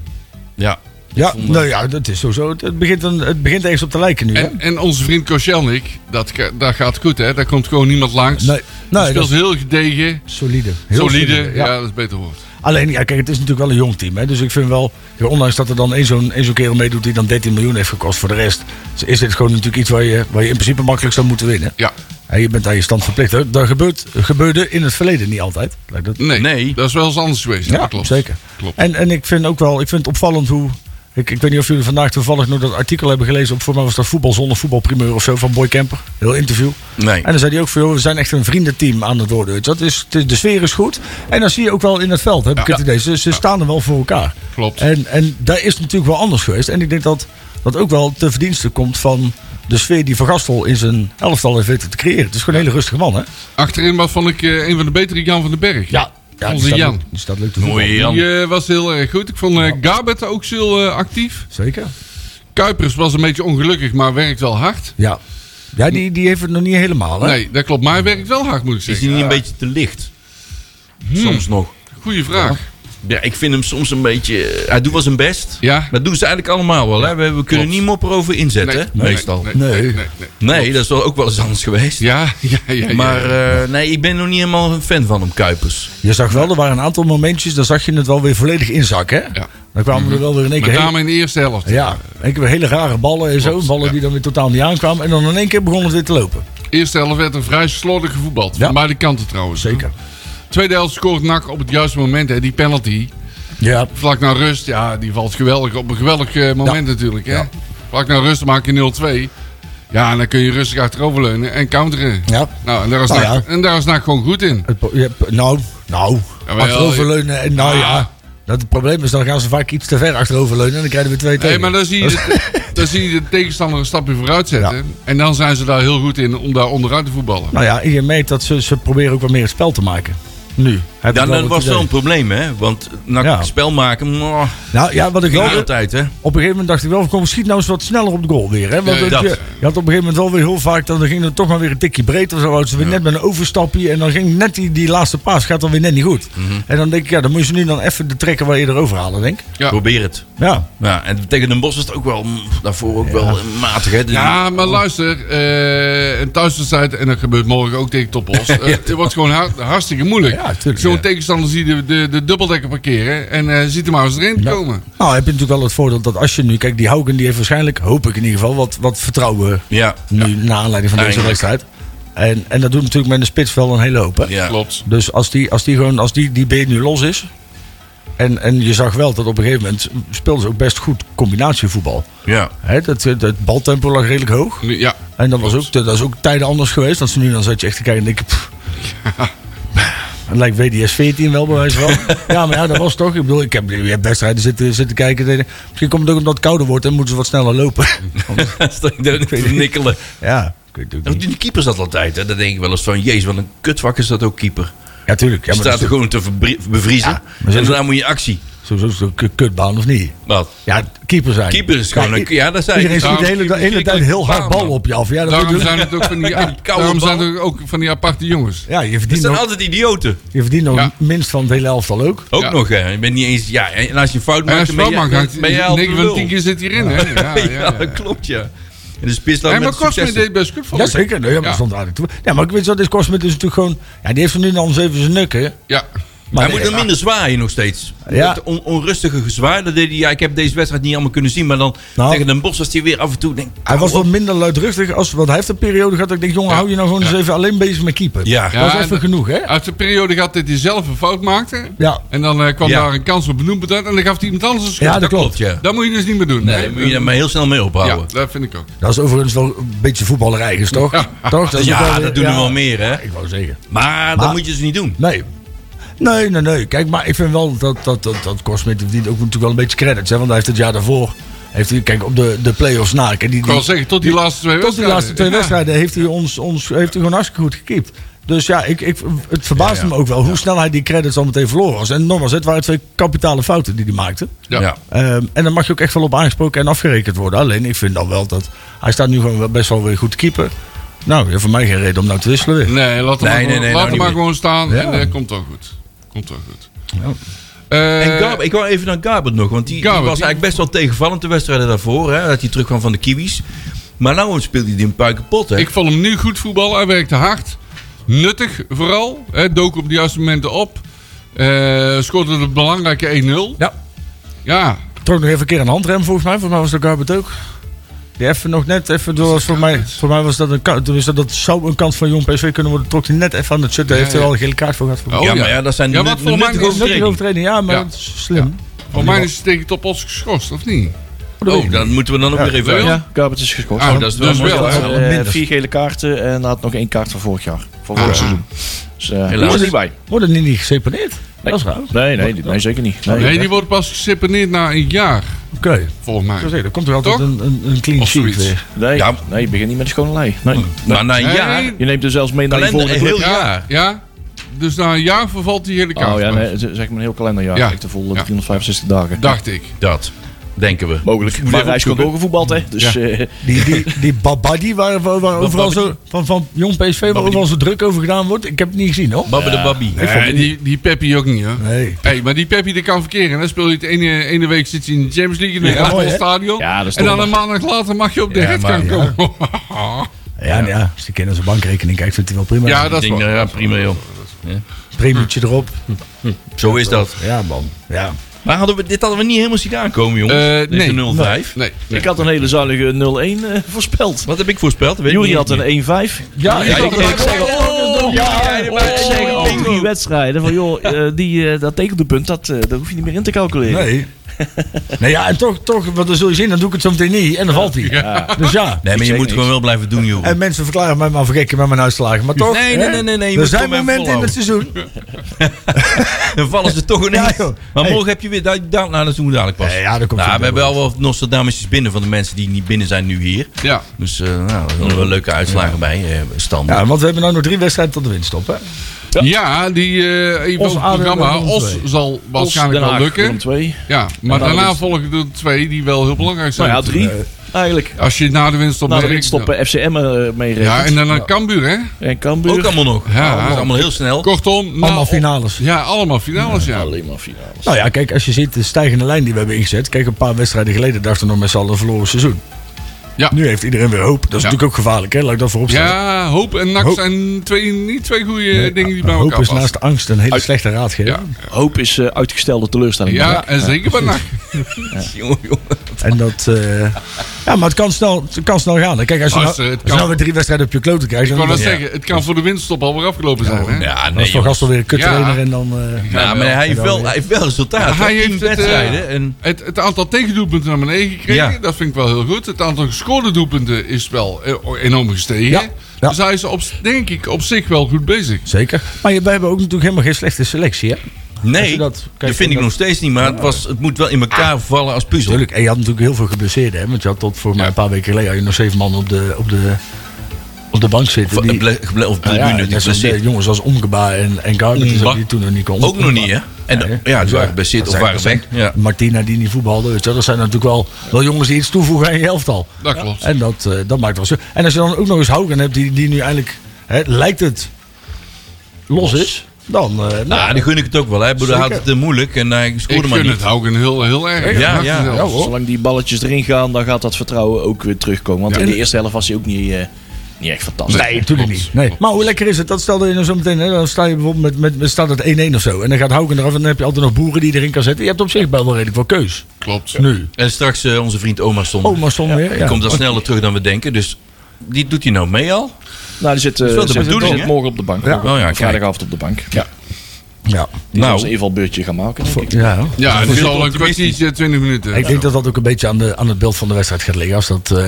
D: Ja.
C: Ja, nou ja, dat is sowieso. Het- Het begint, een, het begint ergens op te lijken nu, hè.
B: En, en onze vriend Koscielnik, dat, ga- dat gaat goed hè. Daar komt gewoon niemand langs.
C: Nee,
B: Die
C: nee dat
B: speelt
C: is
B: heel gedegen,
C: solide. Heel
B: solide.
C: ja.
B: Ja. dat is beter woord.
C: Alleen, ja, kijk, het is natuurlijk wel een jong team, hè. Dus ik vind wel, ja, ondanks dat er dan één zo'n één zo'n kerel meedoet die dan 13 miljoen heeft gekost voor de rest, is dit gewoon natuurlijk iets waar je, waar je in principe makkelijk zou moeten winnen.
B: Ja,
C: Ja, je bent aan je stand verplicht. hè. Dat gebeurt, gebeurde in het verleden niet altijd. Lijkt het.
B: nee,
D: Nee.
B: dat is wel eens anders geweest.
C: Ja,
B: dat klopt.
C: zeker.
B: Klopt.
C: En, en ik vind ook wel, ik vind het opvallend hoe. Ik, ik weet niet of jullie vandaag toevallig nog dat artikel hebben gelezen. Op voor mij was dat voetbal zonder voetbalprimeur of zo van Boy Kemper. Heel interview.
D: Nee.
C: En dan zei hij ook van, joh, we zijn echt een vriendenteam aan het worden. weet je. Dat is, de, de sfeer is goed. En dat zie je ook wel in het veld, heb ik
B: Ja.
C: het idee. Ze, ze staan er wel voor elkaar.
B: Klopt.
C: En, en daar is het natuurlijk wel anders geweest. En ik denk dat dat ook wel te verdienste komt van de sfeer die Van Gastel in zijn elftal heeft weten te creëren. Het is gewoon een hele rustige man, hè?
B: Achterin was vond ik eh, een van de betere Jan van den Berg.
C: die
B: Onze
C: staat
B: Jan.
C: leuk- Die staat leuk te voetballen.
D: Mooie Jan.
B: Die eh, was heel erg goed. Ik vond eh Gabet ook heel eh, actief.
C: Zeker.
B: Kuipers was een beetje ongelukkig, maar werkt wel hard.
C: Ja. Ja, die, die heeft het nog niet helemaal, hè?
B: Nee, dat klopt. Maar hij werkt wel hard, moet ik
D: Is
B: zeggen.
D: hij niet een beetje te licht? Soms nog.
B: Goeie vraag.
D: Ja, ik vind hem soms een beetje... eh, Hij doet wel zijn best.
B: Ja.
D: Dat doen ze eigenlijk allemaal wel. Hè? We, we kunnen
B: Klopt.
D: niet mopperen over inzet, hè? meestal. Nee,
B: Nee,
C: Nee.
B: nee, nee, nee.
D: dat is wel ook wel eens anders geweest.
B: Ja, (laughs) ja, ja, ja.
D: Maar eh, nee, ik ben nog niet helemaal een fan van hem, Kuipers.
C: Je zag wel, er waren een aantal momentjes, daar zag je het wel weer volledig inzakken, hè?
B: Ja.
C: Dan kwamen er wel weer in één
B: met
C: keer... hele-
B: name in de eerste helft.
C: ja, in één keer weer hele rare ballen en zo.
B: Klopt,
C: Ballen
B: ja.
C: die dan weer totaal niet aankwamen. En dan in één keer begon het weer te lopen.
B: Eerste helft werd er vrij slordig gevoetbald.
C: Ja.
B: Van beide kanten trouwens.
C: Zeker.
B: Tweede helft scoort NAC op het juiste moment. Hè. Die penalty.
C: Ja.
B: Vlak naar rust. Ja, die valt geweldig. Op een geweldig eh, moment natuurlijk. Hè.
C: Ja.
B: Vlak naar rust maak je 0-2. Ja, en dan kun je rustig achteroverleunen en counteren.
C: Ja.
B: Nou, en daar is,
C: Nou
B: NAC, en daar is NAC gewoon goed in.
C: Het, pro- je hebt- nou, nou.
B: Jawel,
C: achteroverleunen. En, nou ja. Dat het probleem is, dan gaan ze vaak iets te ver achteroverleunen. En dan krijgen we twee
B: Nee,
C: tegen.
B: maar dan zie, je
C: (laughs)
B: de, dan zie je de tegenstander een stapje vooruit zetten. En dan zijn ze daar heel goed in om daar onderuit te voetballen.
C: Nou ja, je merkt dat ze, ze proberen ook wat meer het spel te maken. Nu. Heb
D: Ja,
C: ik wel
D: dat
C: het
D: eh, was
C: idee.
D: wel een probleem, hè? Want nou,
C: Ja.
D: spel maken, mwah,
C: Nou ja, wat ik
D: ging
C: wel...
D: niet altijd, hè?
C: Op een gegeven moment dacht ik wel, kom, schiet nou eens wat sneller op de goal weer. Hè? Want
B: Ja,
C: het-
D: dat.
C: je, je had op een gegeven moment wel weer heel vaak, dan ging het toch maar weer een tikje breed of zo. Hadden Ze weer net met een overstapje en dan ging net die, die laatste paas, gaat dan weer net niet goed.
D: Mhm.
C: En dan denk ik, ja, dan moet je ze nu dan even de trekken waar je erover halen, denk ik.
B: Ja.
D: Probeer het.
C: Ja,
D: Ja, en tegen Den Bosch is het ook wel, mm, daarvoor ook wel eh, matig, hè? Dus-
B: Ja, maar luister, eh een thuiswedstrijd, en dat gebeurt morgen ook tegen Topos. Eh, het wordt gewoon hard- hartstikke moeilijk.
C: Ja, tuurlijk,
B: Zo'n
C: ja.
B: tegenstander ziet de, de, de dubbeldekker parkeren en eh, ziet hem maar eens erin komen.
C: nou heb je natuurlijk wel het voordeel dat als je nu, kijk, die Hauken die heeft waarschijnlijk, hoop ik in ieder geval, wat, wat vertrouwen
D: Ja,
C: nu na aanleiding van deze
D: Eindelijk.
C: wedstrijd. En, en dat doet natuurlijk met een spits wel een hele hoop. Hè?
D: ja.
B: Klopt.
C: Dus als die, als die, gewoon, als die, die beet nu los is. En, en je zag wel dat op een gegeven moment speelden ze ook best goed combinatievoetbal.
D: Ja.
C: Hè, dat, dat baltempo lag redelijk hoog.
B: Nu- Ja,
C: En dat, was ook, dat is ook tijden anders geweest. Dat ze nu dan zat je echt te kijken en
D: (laughs)
C: denk pff, Het lijkt WDS 14 wel bij
D: (laughs)
C: wijze van. ja, maar ja, dat was toch. Ik bedoel, ik heb, je hebt wedstrijden zitten, zitten kijken. en denk ik, Misschien komt het ook omdat het kouder wordt en moeten ze wat sneller lopen.
D: (laughs) Stel ik daar ook te nikkelen.
C: ja, ik weet het ook
D: Nou,
C: niet.
D: Die keeper zat altijd, hè? Dan denk ik wel eens van, jezus, wat een kutvak is dat ook, keeper.
C: (laughs) Ja, tuurlijk. Ja,
D: Je
C: maar
D: staat er
C: dat
D: gewoon te verbrie- bevriezen.
C: Ja, maar
D: en
C: sowieso-
D: daarna moet je actie.
C: is sowieso zo'n k- kutbaan of niet?
D: Wat?
C: Ja, keeper zijn.
D: Keeper is gewoon
C: Ja,
D: een- ja, dat zei
C: Iedereen
D: ik.
C: schiet de
D: Daarom
C: hele, de
D: schiet
C: hele
D: ik
C: tijd heel hard
D: aan,
C: bal
D: man.
C: op je af. Ja, dat
B: daarom
C: moet je
B: zijn het ook van die,
D: Ja, die koude
B: daarom
D: bal.
B: zijn het ook van die aparte jongens.
C: dus- ja, je
D: Dat
C: verdient
D: zijn
C: nog,
D: altijd idioten.
C: je verdient nog
B: Ja.
C: minst van het hele elftal ook.
D: Ook
B: Ja.
D: nog, hè? Je bent niet eens... Ja, en als je een fout
B: En als
D: maakt,
B: je
D: dan ben
B: wel
D: je,
B: mag,
D: dan ben je al
B: 9
D: de
B: van
D: lul. (laughs)
B: 10 keer zit hierin. Hè? Ja, ja,
D: Ja,
B: ja, ja.
D: dat klopt, ja. En de spits dan
B: En maar
D: met
B: Cosme
D: succes.
B: deed best
D: Oh,
B: goed voor
C: Ja, zeker. Nee, ja, maar stond aardig toe. Ja, maar ik weet zo, dit Cosmet is natuurlijk gewoon... Ja, die heeft er nu dan zeven zijn nukken.
B: Ja,
C: Maar
D: hij
C: nee,
D: moet nog
C: ja.
D: minder zwaaien nog steeds.
C: Ja.
D: Dat on- onrustige gezwaai. Dat deed hij, ja, ik heb deze wedstrijd niet allemaal kunnen zien. Maar dan
C: Nou.
D: tegen Den Bosch was hij weer af en toe... Denk,
C: Hij was wat minder luidruchtig. Als, want hij heeft een periode gehad dat ik denk... Jongen, hou je nou gewoon eens even alleen bezig met keeper.
D: Ja.
C: Dat is
B: Ja,
C: even
B: en-
C: genoeg, hè?
B: uit de periode gehad dat hij zelf een fout maakte.
C: Ja.
B: En dan eh, kwam
D: Ja.
B: daar een kans op benoemd en dan gaf hij iemand anders een schot.
C: Ja, dat klopt.
D: ja.
B: Dat moet je dus niet meer doen.
D: Nee,
B: hè?
D: daar moet je dan maar heel snel mee
B: ja,
D: ophouden.
B: dat vind ik ook.
C: Dat is overigens wel een beetje voetballerij, is toch?
B: Ja.
C: toch?
D: Dus Ja,
C: is ook
D: dat
C: weer-
D: doen we
C: ja.
D: wel meer, hè?
C: Ik wou zeggen.
D: Maar,
C: Maar-
D: dat moet je dus niet doen.
C: Nee. Nee, nee, nee. Kijk, maar ik vind wel dat, dat, dat, dat Cosmet verdient ook natuurlijk wel een beetje credits. Hè? Want hij heeft het jaar daarvoor, heeft hij, kijk, op de, de play-offs na. Kijk, die,
B: Ik wil
C: die-
B: zeggen, tot die laatste twee
C: tot die
B: wedstrijden.
C: laatste twee
B: Ja.
C: wedstrijden heeft hij, ons, ons, heeft hij gewoon hartstikke goed gekiept. Dus ja, ik, ik, het verbaast me ook wel hoe snel hij die credits al meteen verloren was. En nogmaals, het waren twee kapitale fouten die hij maakte.
B: Ja.
D: Ja.
C: Ehm, en daar mag je ook echt wel op aangesproken en afgerekend worden. Alleen ik vind dan wel dat hij staat nu gewoon wel best wel weer goed te keeper. Nou, ja, voor mij geen reden om nou te wisselen weer.
B: Nee, laat hem
D: Nee,
B: maar,
D: nee, nee,
B: laat
D: nou
B: hem
D: niet
B: maar
D: meer.
B: gewoon staan.
C: Ja.
B: En dat komt wel goed. Komt wel goed.
D: En
B: Eh,
D: Garber, ik wou even naar Garber nog, want die, die
B: Garber,
D: was
B: die-
D: eigenlijk best wel tegenvallend de wedstrijden daarvoor. Hè, dat hij terugkwam van de Kiwis. Maar nou speelt hij die een puik kapot. Hè.
B: ik vond hem nu goed voetballen. Hij werkte hard. Nuttig vooral. Hè, dook op de juiste momenten op. Eh scoorde de belangrijke 1-0.
C: Ja.
B: Ja.
C: Trok nog even een keer een handrem volgens mij. Volgens mij was dat Garbert ook. Die even nog net even door. Was voor, mij, voor mij was dat een kant. Dus dat, dat zou een kant van Jong PSV kunnen worden. Trok hij net even aan het shut. Daar
B: Ja,
C: heeft hij
B: ja.
C: al een gele kaart voor gehad. Voor
B: Oh,
D: ja, maar ja, dat zijn
B: Ja,
D: nut-
B: wat voor mij
D: nuttige
B: is-
C: Net die
D: overtredingen.
C: overtreding, ja, maar
B: Ja.
C: dat is slim.
B: Voor mij is het tegen Topos geschorst, of niet?
C: dat weet
D: Oh,
C: ik
D: dat moeten we dan ook weer even...
B: Ja.
E: Ja, Garbert is gescoord.
B: Ah, dat is wel
D: Dus
B: mooi.
D: wel,
E: Hij
D: hè?
E: had,
C: wel
E: eh,
C: minder.
E: vier gele kaarten en had nog één kaart van vorig jaar. Van vorig
B: Ah.
E: seizoen. Dus eh die
D: Helaas.
E: was er niet bij.
C: Worden die niet geseponeerd? Dat is raar. Oké.
E: Nee, nee, die- nee zeker niet. Nee,
B: Nee, die wordt pas geseponeerd na een jaar, volgens mij.
C: Zo zeg, Dan komt er altijd
B: Toch?
C: een, een, een clean
B: Of
C: sheet
B: zoiets.
C: weer.
E: nee,
D: Ja.
E: nee, je begint niet met een schone lei. Nee.
D: Maar na een
B: Nee,
D: jaar...
E: Je neemt er zelfs mee naar je
D: Kalender,
E: volgende
D: een
E: club.
D: heel jaar.
B: Ja, dus na een jaar vervalt die hele kaart.
E: Oh ja, nee, z- zeg maar een heel kalenderjaar.
B: Ja.
E: Ja. Echt de volle
B: Ja.
E: 365 dagen.
B: Dacht ik.
D: Dat, denken we.
E: Mogelijk.
D: even
E: Maar hij is
D: opzoeken.
E: ook gevoetbald, hè. Dus
B: Ja.
E: eh,
C: Die, die, die Babadi waar, waar, waar overal zo, van, van Jong PSV waar overal zo druk over gedaan wordt. Ik heb het niet gezien hoor.
D: Babbe de Babbi.
B: Nee, Eh, die, die Peppi ook niet, hoor.
C: Nee.
B: Hey, maar die Peppi die kan verkeren. Dan speel je het ene, ene week zit hij in de Champions League in het
C: Ja, mooi,
B: ja,
C: hè?
B: stadion.
E: Ja, dat is
B: en dan
E: toch
B: een maandag later mag je op de
D: Ja,
B: head
D: maar-
B: gaan
D: ja.
B: komen. (laughs)
C: Ja, nou ja, ze kennen zijn bankrekening. Kijk, ik vind het wel prima.
B: ja,
D: Ik
B: Ah, dat is
D: denk,
B: waar.
D: nou ja, prima joh.
C: Premietje erop.
D: Zo is dat.
C: Ja, man. Ja.
D: Maar hadden we, dit hadden we niet helemaal zien aankomen, jongens.
B: Eh,
D: Deze
B: nee.
D: 05.
B: Nee, nee.
E: ik had een hele zuinige 0-1 eh, voorspeld.
D: Wat heb ik voorspeld? Dat Weet
E: Jury
D: ik
E: had
D: niet.
E: een 1-5.
C: e- Ja,
D: Ja,
C: ik
D: ik,
C: ook.
D: ik zeg
E: Oh, ja, ja, maar ik zeg
D: oh,
E: al die wedstrijden van joh, eh, die, eh, dat tekenpunt, dat, eh, daar hoef je niet meer in te calculeren.
C: Nee. nee, ja, en toch, toch, want dan zul je zien, dan doe ik het zo meteen niet en dan valt hij. Dus ja.
D: Nee, maar je
E: zeg
D: moet
E: niks.
D: gewoon wel blijven doen, joh.
C: En mensen verklaren mij maar vergekken met mijn uitslagen, maar toch.
D: Nee, nee,
C: hè,
D: nee, nee, nee, je
C: Er
D: moet
C: zijn
D: gewoon even
C: momenten in het seizoen.
D: Dan vallen ze toch ineens.
C: Ja, joh.
D: maar
C: Hey.
D: morgen heb je weer... Da, da- nou, dat doen we dadelijk pas.
C: Nee, ja, dat komt
D: nou,
C: zo
D: we hebben wel wat Nostradamusjes binnen van de mensen die niet binnen zijn nu hier.
B: Ja,
D: Dus eh nou, er zijn wel leuke uitslagen bij. eh standaard.
C: Ja, want we hebben nou nog drie wedstrijden tot de winst op, hè?
B: ja die eh even
C: Os,
B: op het
C: ADO,
B: programma.
C: Willem
B: Os
C: II.
B: zal
E: Als Den
B: waarschijnlijk wel
E: Haag,
B: lukken.
E: Willem II.
B: Ja, maar
E: dan
B: daarna
E: is-
B: volgen er twee die wel heel belangrijk
E: Nou
B: zijn.
E: ja, drie eigenlijk. Nou,
B: Als je na de winst op
E: Na de
B: Madrid-
E: winststoppen FCM meerekent.
B: Ja, en dan naar Cambuur, hè?
E: eh, en Cambuur.
D: Ook allemaal nog.
B: Ja.
D: dat is allemaal heel snel.
B: Kortom, nou,
C: Allemaal finales.
B: Ja, allemaal finales, ja.
E: Alleen maar finales.
C: Nou ja, kijk, als je ziet de stijgende lijn die we hebben ingezet. Kijk, een paar wedstrijden geleden dachten we nog met z'n allen een verloren seizoen.
B: Ja.
C: Nu heeft iedereen weer hoop. Dat is
B: Ja.
C: natuurlijk ook gevaarlijk, hè? Laat ik dat voorop stellen.
B: Ja, hoop en NAC
C: Hoop.
B: zijn twee, niet twee goede dingen die bij
C: Hoop
B: elkaar
C: is
B: passen.
C: naast angst een hele slechte raadgever.
B: Ja.
E: Hoop is eh, uitgestelde teleurstelling.
B: Ja, en zeker bij NAC.
D: Jongen, jongen.
C: En dat, eh, ja, maar het kan snel, het kan snel gaan. hè. Kijk, als je,
B: Als,
C: nou,
B: eh, het
C: als je
B: kan-
C: nou weer drie wedstrijden op je kloten krijgt,
B: Ik
C: dan,
B: wou
C: dan,
B: dat
C: dan
B: zeggen, het kan voor de winststop alweer afgelopen zijn, hè?
D: Ja, nee,
C: is toch
D: joh.
C: gast alweer een kut
B: Ja. Nou,
C: trainer en dan... eh,
D: Ja, maar hij heeft wel, hij heeft wel resultaat.
B: Hij
D: hè. Tien
B: heeft het, eh,
D: wedstrijden. en,
B: Het, het aantal tegendoelpunten naar beneden gekregen,
D: Ja.
B: dat vind ik wel heel goed. Het aantal gescoorde doelpunten is wel eh, enorm gestegen.
C: Ja, ja.
B: Dus hij is op, denk ik op zich wel goed bezig.
C: Zeker. Maar je- wij hebben ook natuurlijk helemaal geen slechte selectie, hè? Als
D: nee,
C: je dat
D: dat,
C: kijkt,
D: vind ik
C: dan-
D: nog steeds niet. Maar het, was, het moet wel in elkaar vallen als puzzel.
C: Tuurlijk. En je had natuurlijk heel veel geblesseerden, hè? Want je had tot voor mij een paar weken geleden had je nog zeven man op de, op de, op de bank
D: Of,
C: zitten.
D: eh,
C: Die,
D: ble- geble- of
C: Nou ja,
D: Blue Nut,
C: net
D: ik
C: zoals
D: blesseer.
C: de jongens als Omgeba en, en Garber, die
D: Omba.
C: die toen nog niet konden.
D: Ook nog niet, hè? En de-
C: Nee,
D: ja, die
C: dus
D: waren geblesseerd
C: dat
D: of
C: zijn-
D: waren
C: dat
D: weg.
C: zijn-
D: Ja.
C: Martina die niet voetbalde. weet je wel. Dat zijn natuurlijk wel, wel jongens die iets toevoegen aan je elftal.
B: Dat klopt.
C: En dat, eh, dat maakt wel zo. En als je dan ook nog eens Haugen hebt die, die nu eigenlijk, hè, lijkt het, los is. Dan, eh, nou,
D: Nou, die gun ik het ook wel. Hij bedoel, hij had het
C: Zeker.
D: eh, moeilijk en hij
B: Ik
D: scoorde maar
B: gun
D: niet.
B: het Haugen heel, heel erg.
D: Ja,
B: Hard
D: ja.
B: zelfs.
C: Ja, hoor.
E: Zolang die balletjes erin gaan, dan gaat dat vertrouwen ook weer terugkomen. Want in de eerste helft was hij ook niet, eh, niet echt fantastisch.
C: Nee, natuurlijk
B: klopt,
C: niet. Nee.
B: klopt.
C: Maar hoe lekker is het? Dat stelde je nou zo meteen. Hè, dan sta je bijvoorbeeld met, met, met staat het 1-1 of zo. En dan gaat Hauken eraf. En dan heb je altijd nog boeren die erin kan zetten. Je hebt op zich wel wel redelijk veel keus.
B: Klopt.
C: Nu.
D: En straks eh, onze vriend Oma stond.
C: Oh, maar zonder weer. Ja.
D: Komt dat sneller terug dan we denken. Dus die doet hij nou mee al.
E: Nou, die zit, eh,
D: is wel de
E: zit,
D: bedoeling,
E: zit
D: hè?
E: morgen op de bank.
C: Ja.
D: Oh ja, kijk.
E: vrijdagavond op de bank. Ja.
C: Ja.
E: Die
D: Nou.
E: nou. zal een invalbeurtje gaan maken, denk ik.
C: ja. hoor.
B: Ja, het is
D: Veel
B: al een
D: optimistisch.
B: kwartiertje, twintig minuten.
C: Ik denk dat dat ook een beetje aan, de, aan het beeld van de wedstrijd gaat liggen. Als dat, eh,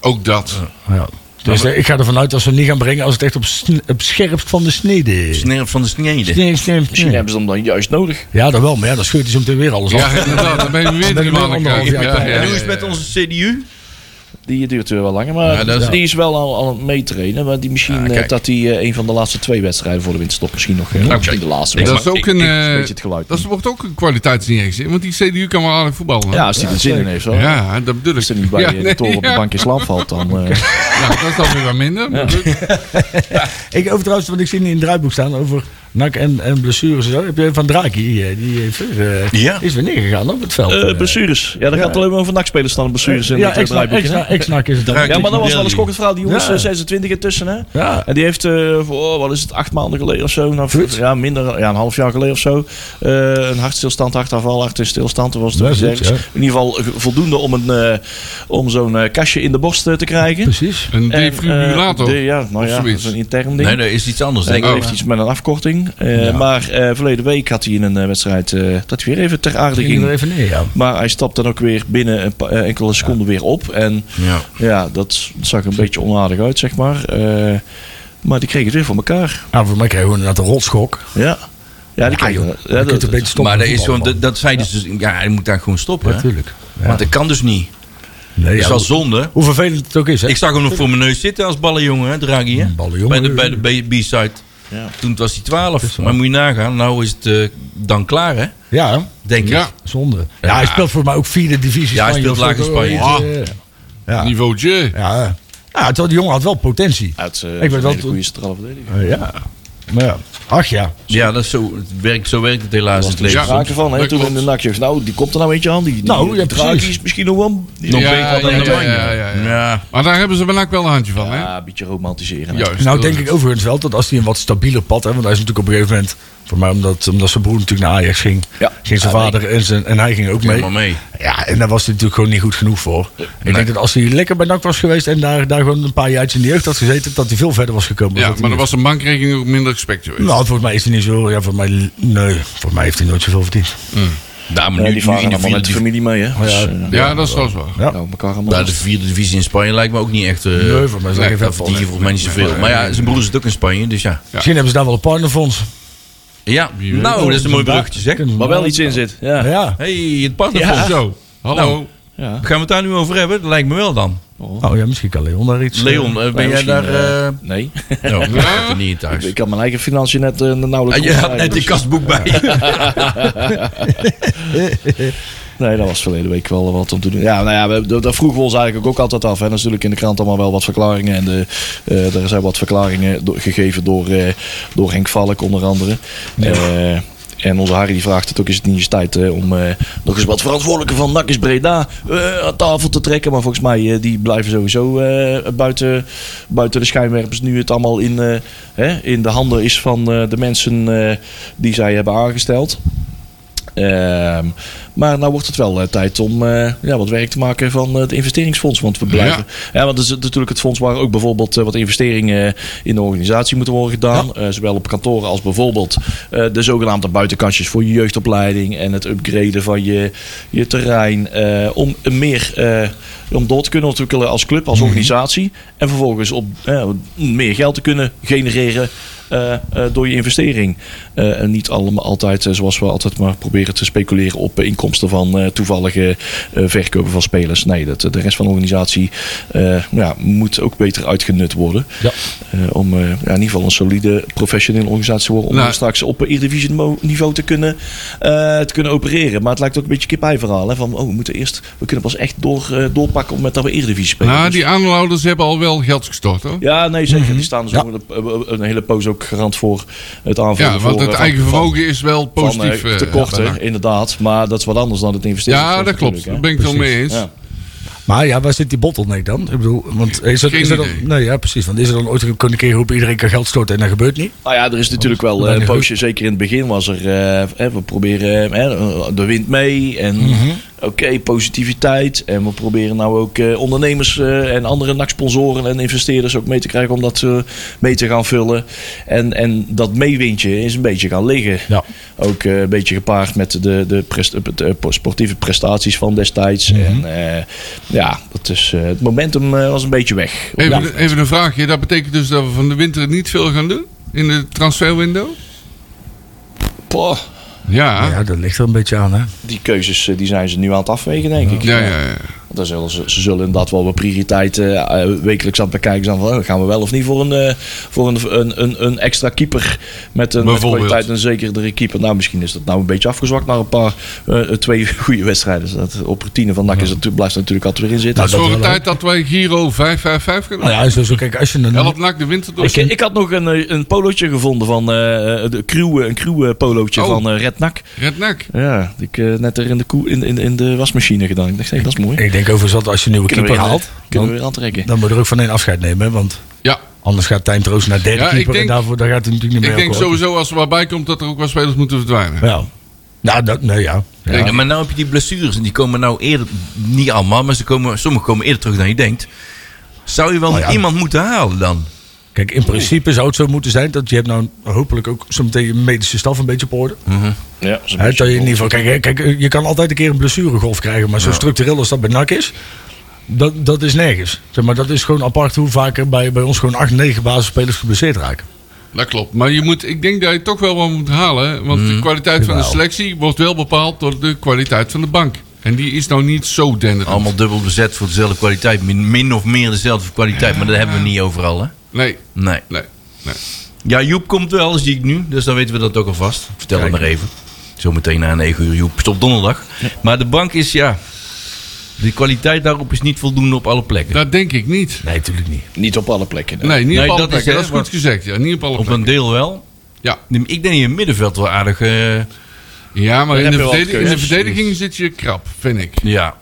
B: Ook dat.
C: ja. Dus eh, ik ga ervan uit dat ze hem niet gaan brengen als het echt op, sn- op scherpst van de snede. Snede,
D: Snerp van de snede.
C: snede, snede.
E: Misschien hebben ze hem dan juist nodig.
C: Ja, dat wel, maar ja, dan scheurt hij zo meteen weer alles af.
B: Ja, inderdaad. Dan ben je weer
C: Dan ben
B: drie
C: je
B: maanden
C: weer
B: kwijt.
C: anderhalf jaar
B: Ja,
C: kwijt.
B: ja,
D: En
B: ja,
D: hoe is
B: ja.
D: het met onze CDU?
E: Die duurt weer wel langer, maar
D: Ja, dat is-
E: die is wel al, al aan het meetrainen. Maar die misschien eh,
D: kijk.
E: dat hij een van de laatste twee wedstrijden voor de winterstop misschien nog... eh, Misschien de laatste
B: Dat is
E: wedstrijd.
B: ook een...
E: Dat is een
B: eh,
E: beetje het geluid.
B: Dat wordt ook een kwaliteitsinjectie. Want die CDU kan wel aardig voetballen. hè?
E: ja, als hij er zin in heeft. hoor.
B: Ja, dat bedoel ik.
E: Als hij niet bij
B: ja,
E: eh, de
B: nee,
E: toren op de
B: ja.
E: bank in slaap valt, dan... eh,
B: (laughs) Ja, dat is dan weer wat minder. maar goed.
C: Ik over trouwens, want ik zie in het draaiboek staan over nak en, en blessures en zo. Heb je van Draki, eh, die heeft weer, eh,
D: Ja.
C: is weer neergegaan op het veld.
E: Eh,
C: Eh,
E: blessures. Ja, dan gaat het alleen maar over nachtspelers staan. Blessures in
C: ja,
E: het eh,
C: ex-nak
E: draaiboek, hè?
C: ex-nak- ex-nak is het dan.
E: Ja, maar dat was wel een schokkend verhaal. Die jongens
C: Ja.
E: eh, 26 intussen, hè?
C: Ja.
E: En die heeft, eh, voor, oh, wat is het, acht maanden geleden of zo? Nou, ja, minder, ja, een half jaar geleden of zo. eh, een hartstilstand, hartafval, hartstilstand. Dat was het
C: Ja,
E: ook iets
C: zoiets,
E: ergs. In ieder geval eh, voldoende om, een, eh, om zo'n eh, kastje in de borst eh, te krijgen.
C: Precies.
B: Een
E: En, eh,
B: defibrillator.
E: de- ja, nou
B: Of
E: ja, dat
B: zoiets. Oh,
E: is een intern ding.
D: Nee, dat is iets anders.
E: Hij
D: Denk ik.
E: heeft iets met een afkorting. Eh, Maar eh, verleden week had hij in een eh, wedstrijd eh, dat hij weer even ter aarde
C: Ging er
E: ging.
C: even neer, ja.
E: Maar hij stapt dan ook weer binnen een pa- eh, enkele seconden weer op. En
D: Ja.
E: ja, dat zag er een beetje onaardig uit, zeg maar. Eh, maar die kregen het weer voor elkaar.
C: Ah, voor mij kreeg je inderdaad een rotschok.
E: Ja, ja die kregen
C: joh,
E: het.
C: je kunt een beetje stoppen.
D: Maar dat
C: met
D: is gewoon,
C: voetballen.
D: dat, dat zei dus, ja, hij moet daar gewoon stoppen. hè?
C: Natuurlijk. Ja.
D: Want dat kan dus niet.
C: Nee,
D: Dat
C: ja,
D: is wel zonde.
C: Hoe vervelend het ook is, hè?
D: Ik zag hem nog voor mijn neus zitten als ballenjongen, hè, Draghi. Hè?
C: Ballenjongen.
D: Bij de, bij de B- B-side.
E: Ja.
D: Toen was hij 12. Maar moet je nagaan, nou is het eh, dan klaar, hè?
C: Ja, hè?
D: Denk
B: Ja.
D: ik.
C: zonde. Ja, hij speelt voor mij ook vierde divisie
D: Ja, hij
C: Spanje
D: speelt
C: of zo.
D: laag in Spanje.
C: Ja. Ja. Ja.
B: Niveau J.
C: Ja. Ja, terwijl die jongen had wel potentie.
E: Uit, eh,
C: weet
E: een
C: dat-
E: hele goede centrale verdediger.
C: Eh, Ja. Maar ja. Ach ja.
D: Ja, dat is zo, het werkt, zo werkt het helaas in het
E: Er
D: leven.
E: was sprake van, hè,
B: dat
E: toen
B: klopt.
E: in de nakje. Nou, die komt er nou eentje aan. Die, die,
C: Nou, ja,
E: die draait,
C: precies.
E: die is misschien nog wel... die-
D: Nog
B: Ja,
D: beter dan
B: ja,
D: de
B: ja,
D: Oranje.
B: ja, ja, ja.
D: Ja.
B: Maar daar hebben ze wel ook wel een handje van, hè?
E: Ja, een beetje romantiseren. hè.
B: Juist.
C: Nou denk ik overigens wel dat als hij een wat stabieler pad... Hè, want hij is natuurlijk op een gegeven moment... Voor mij omdat, omdat zijn broer natuurlijk naar Ajax ging.
E: Ja.
C: Ging zijn
E: Ja,
C: vader en, zijn, en hij ging ook mee.
D: Helemaal mee.
C: Ja, en daar was hij natuurlijk gewoon niet goed genoeg voor. Ik denk dat als hij lekker bij NAC was geweest... en daar, daar gewoon een paar jaartjes in de jeugd had gezeten... dat hij veel verder was gekomen. dan
B: Ja,
C: dat hij
B: maar er
C: nu
B: was een bankrekening ook minder respect geweest.
C: Nou, volgens mij is hij niet zo... Ja, volgens mij... Nee, volgens mij heeft hij nooit zoveel verdiend.
D: Daar, Nou, maar
E: Ja,
D: nu,
E: die
D: nu
E: varen
D: in de
E: allemaal
D: vierde,
E: met de
D: div-
E: familie mee, hè. Dus,
C: ja.
E: eh,
B: ja, dat is vast waar.
C: Ja.
E: nou, elkaar allemaal.
D: daar, de vierde divisie in Spanje lijkt me ook niet echt... eh
C: Nee, voor mij is dat geen
D: dat
C: vet van,
D: verdien je
C: hè.
D: volgens mij niet zoveel. Maar ja, zijn broer zit ook in Spanje, dus ja.
C: Misschien hebben ze daar wel een partnerfonds.
D: Ja,
B: weet.
D: nou, dat is een mooi bruggetje, zeg.
C: Kunnen ze
E: Waar wel
C: wel-
E: iets in zit. Ja. Nou,
C: Ja.
D: hey, het partnerfonds.
B: Zo, hallo.
D: Nou,
E: Ja.
D: Gaan we het daar nu over hebben? Dat lijkt me wel dan.
C: Oh ja, misschien kan Leon daar iets...
D: Leon, eh, ben jij
E: misschien,
D: daar... eh
E: Nee,
D: nou, ik zit er niet in thuis.
E: ik had mijn eigen financiën net eh, nauwelijks...
D: Ah, je had
E: opgeschreven,
D: net die
E: dus-
D: kastboek bij.
E: Nee, dat was verleden week wel wat om te doen. Ja, nou ja, we- dat, dat vroegen we ons eigenlijk ook altijd af. Hè. Natuurlijk in de krant allemaal wel wat verklaringen. En de, eh, er zijn wat verklaringen do- gegeven door, eh, door Henk Valk onder andere. Eh, en onze Harry die vraagt het ook, is het niet eens tijd hè, om eh, nog eens wat verantwoordelijke van Nakkes Breda eh, aan tafel te trekken. Maar volgens mij, eh, die blijven sowieso eh, buiten, buiten de schijnwerpers. Nu het allemaal in, eh, hè, in de handen is van eh, de mensen eh, die zij hebben aangesteld. Ehm, maar nou wordt het wel eh, tijd om eh, ja, wat werk te maken van eh, het investeringsfonds. Want we blijven. Ja. want het is natuurlijk het fonds waar ook bijvoorbeeld eh, wat investeringen in de organisatie moeten worden gedaan. Eh, zowel op kantoren als bijvoorbeeld eh, de zogenaamde buitenkantjes voor je jeugdopleiding. En het upgraden van je, je terrein. eh, om een meer. eh, om door te kunnen ontwikkelen als club, als organisatie. En vervolgens op eh, meer geld te kunnen genereren eh, eh, door je investering. Eh, en niet allemaal altijd, eh, zoals we altijd maar proberen te speculeren op eh, inkomsten van eh, toevallige eh, verkopen van spelers. Nee, dat, eh, de rest van de organisatie eh, ja, moet ook beter uitgenut worden.
C: Ja.
E: Eh, om eh, ja, in ieder geval een solide professionele organisatie te worden. Om
B: Nou.
E: straks op eh, Eredivisie mo- niveau te kunnen, eh, te kunnen opereren. Maar het lijkt ook een beetje kip-ei verhaal. Hè? Van, oh, we, moeten eerst, we kunnen pas echt door, eh, doorpakken om met dat we Eredivisie spelen.
B: Nou,
E: Dus-
B: die aanhouders hebben al wel geld gestort, hoor.
E: ja, nee, zeker.
B: Mhm.
E: Die staan dus ook een- een hele poos ook garant voor het aanvullen.
B: Ja,
E: voor,
B: want het
E: eh, van-
B: eigen
E: van-
B: vermogen is wel
E: van,
B: positief.
E: eh,
B: eh,
E: tekorten,
B: bijna.
E: inderdaad. Maar dat is wat anders dan het investeren.
B: Ja, dat klopt. Daar ben ik het wel mee eens.
E: Ja.
C: Maar ja, waar zit die bottleneck dan? Ik bedoel, want is er,
B: Geen
C: is er dan...
B: idee.
C: Nee, ja, precies. Want is er dan ooit een een keer geroepen... iedereen kan geld storten en dat gebeurt niet?
E: Nou ja, er is natuurlijk wel eh, een
C: Weinig
B: Mhm.
E: poosje, zeker in het begin was er, eh, hè, we proberen eh, hè, de wind mee en oké, positiviteit. En we proberen nou ook eh, ondernemers eh, en andere NAC-sponsoren en investeerders ook mee te krijgen om dat eh, mee te gaan vullen. En, en dat meewindje is een beetje gaan liggen.
C: Ja.
E: Ook eh, een beetje gepaard met de, de, pres- de sportieve prestaties van destijds.
B: Mhm.
E: En eh, ja, dat is, eh, het momentum eh, was een beetje weg.
B: Even, even een vraagje. Dat betekent dus dat we van de winter niet veel gaan doen? In de transferwindow?
E: Poh,
B: Ja.
C: Ja, dat ligt er een beetje aan, hè?
E: die keuzes eh, die zijn ze nu aan het afwegen, denk ik.
B: Ja, ja, ja.
E: Dan zullen ze, ze zullen inderdaad wel wat prioriteiten eh, wekelijks aan het bekijken zijn. Van, oh, gaan we wel of niet voor een, eh, voor een, een, een, een extra keeper met een met
B: Bijvoorbeeld.
E: kwaliteit en zekerdere keeper. Nou, misschien is dat nou een beetje afgezwakt naar een paar, eh, twee (laughs) goede wedstrijden. Dus dat, op routine van NAC is het, blijft er natuurlijk altijd weer in zitten.
B: Het is
C: dat
B: voor een
C: wel,
B: tijd dat wij Giro 555 gaan
C: Nou
D: Oh,
B: doen.
C: ja, zo, zo, kijk, als je een...
B: Help NAC de winter door.
E: ik, ik had nog een, eh, een polootje gevonden van eh, de crew, een crew polootje
B: Oh.
E: van eh, Red NAC.
B: Red NAC.
E: Ja, die ik eh, net er in de, koe, in, in, in de wasmachine gedaan. Ik dacht, hé, dat is mooi.
C: Ik denk overigens dat als je een nieuwe
E: Kunnen we
C: keeper
E: weer-
C: haalt,
E: Kunnen we
C: dan,
E: weer aantrekken.
C: dan moet je er ook van één afscheid nemen, hè? Want
B: Ja.
C: anders gaat Tijn Troost naar derde
B: Ja, ik
C: keeper en
B: denk-
C: daarvoor, daar gaat hij natuurlijk niet
B: Ik
C: meer
B: denk sowieso als er wat bij komt dat er ook wat spelers moeten verdwijnen.
C: Ja. Nou, dat, nee, ja. ja.
D: Ja, maar nou heb je die blessures en die komen nou eerder, niet allemaal, maar ze komen, sommige komen eerder terug dan je denkt. Zou je wel
C: Nou ja.
D: iemand moeten halen dan?
C: Kijk, in principe zou het zo moeten zijn dat je hebt nou hopelijk ook zometeen je medische staf een beetje op orde.
E: Ja, dat is een
C: Hè,
E: beetje
C: dat je in ieder geval, kijk, hè, kijk, je kan altijd een keer een blessuregolf krijgen, maar zo structureel als dat bij NAC is, dat, dat is nergens. Zeg maar dat is gewoon apart hoe vaak er bij, bij ons gewoon 8, 9 basisspelers geblesseerd raken.
B: Dat klopt. Maar je moet, ik denk dat je toch wel wat moet halen. hè. Want
D: Mhm.
B: de kwaliteit van de
C: Jawel.
B: selectie wordt wel bepaald door de kwaliteit van de bank. En die is nou niet zo denderend.
D: Allemaal dubbel bezet voor dezelfde kwaliteit, min, min of meer dezelfde kwaliteit, maar dat hebben we niet overal hè?
B: Nee,
D: Nee.
B: nee, nee.
D: Ja, Joep komt wel, zie ik nu. Dus dan weten we dat ook alvast. Vertel hem maar even. Zometeen na 9 uur, Joep. Stop donderdag. Maar de bank is, ja... De kwaliteit daarop is niet voldoende op alle plekken.
B: Dat denk ik niet.
C: Nee, natuurlijk niet.
E: Niet op alle plekken. dus.
B: Nee, niet
D: Nee,
B: op alle
D: dat is,
B: plekken.
D: hè,
B: dat is goed
D: want-
B: gezegd. Ja, niet op alle
D: op
B: plekken.
D: een deel wel.
B: Ja.
D: Ik denk in het middenveld wel aardig... eh,
B: Ja, maar
E: Dan
B: in
E: heb
B: de,
E: je wel
B: verdediging, in de
E: keuzes.
B: verdediging zit je krap, vind ik.
D: ja.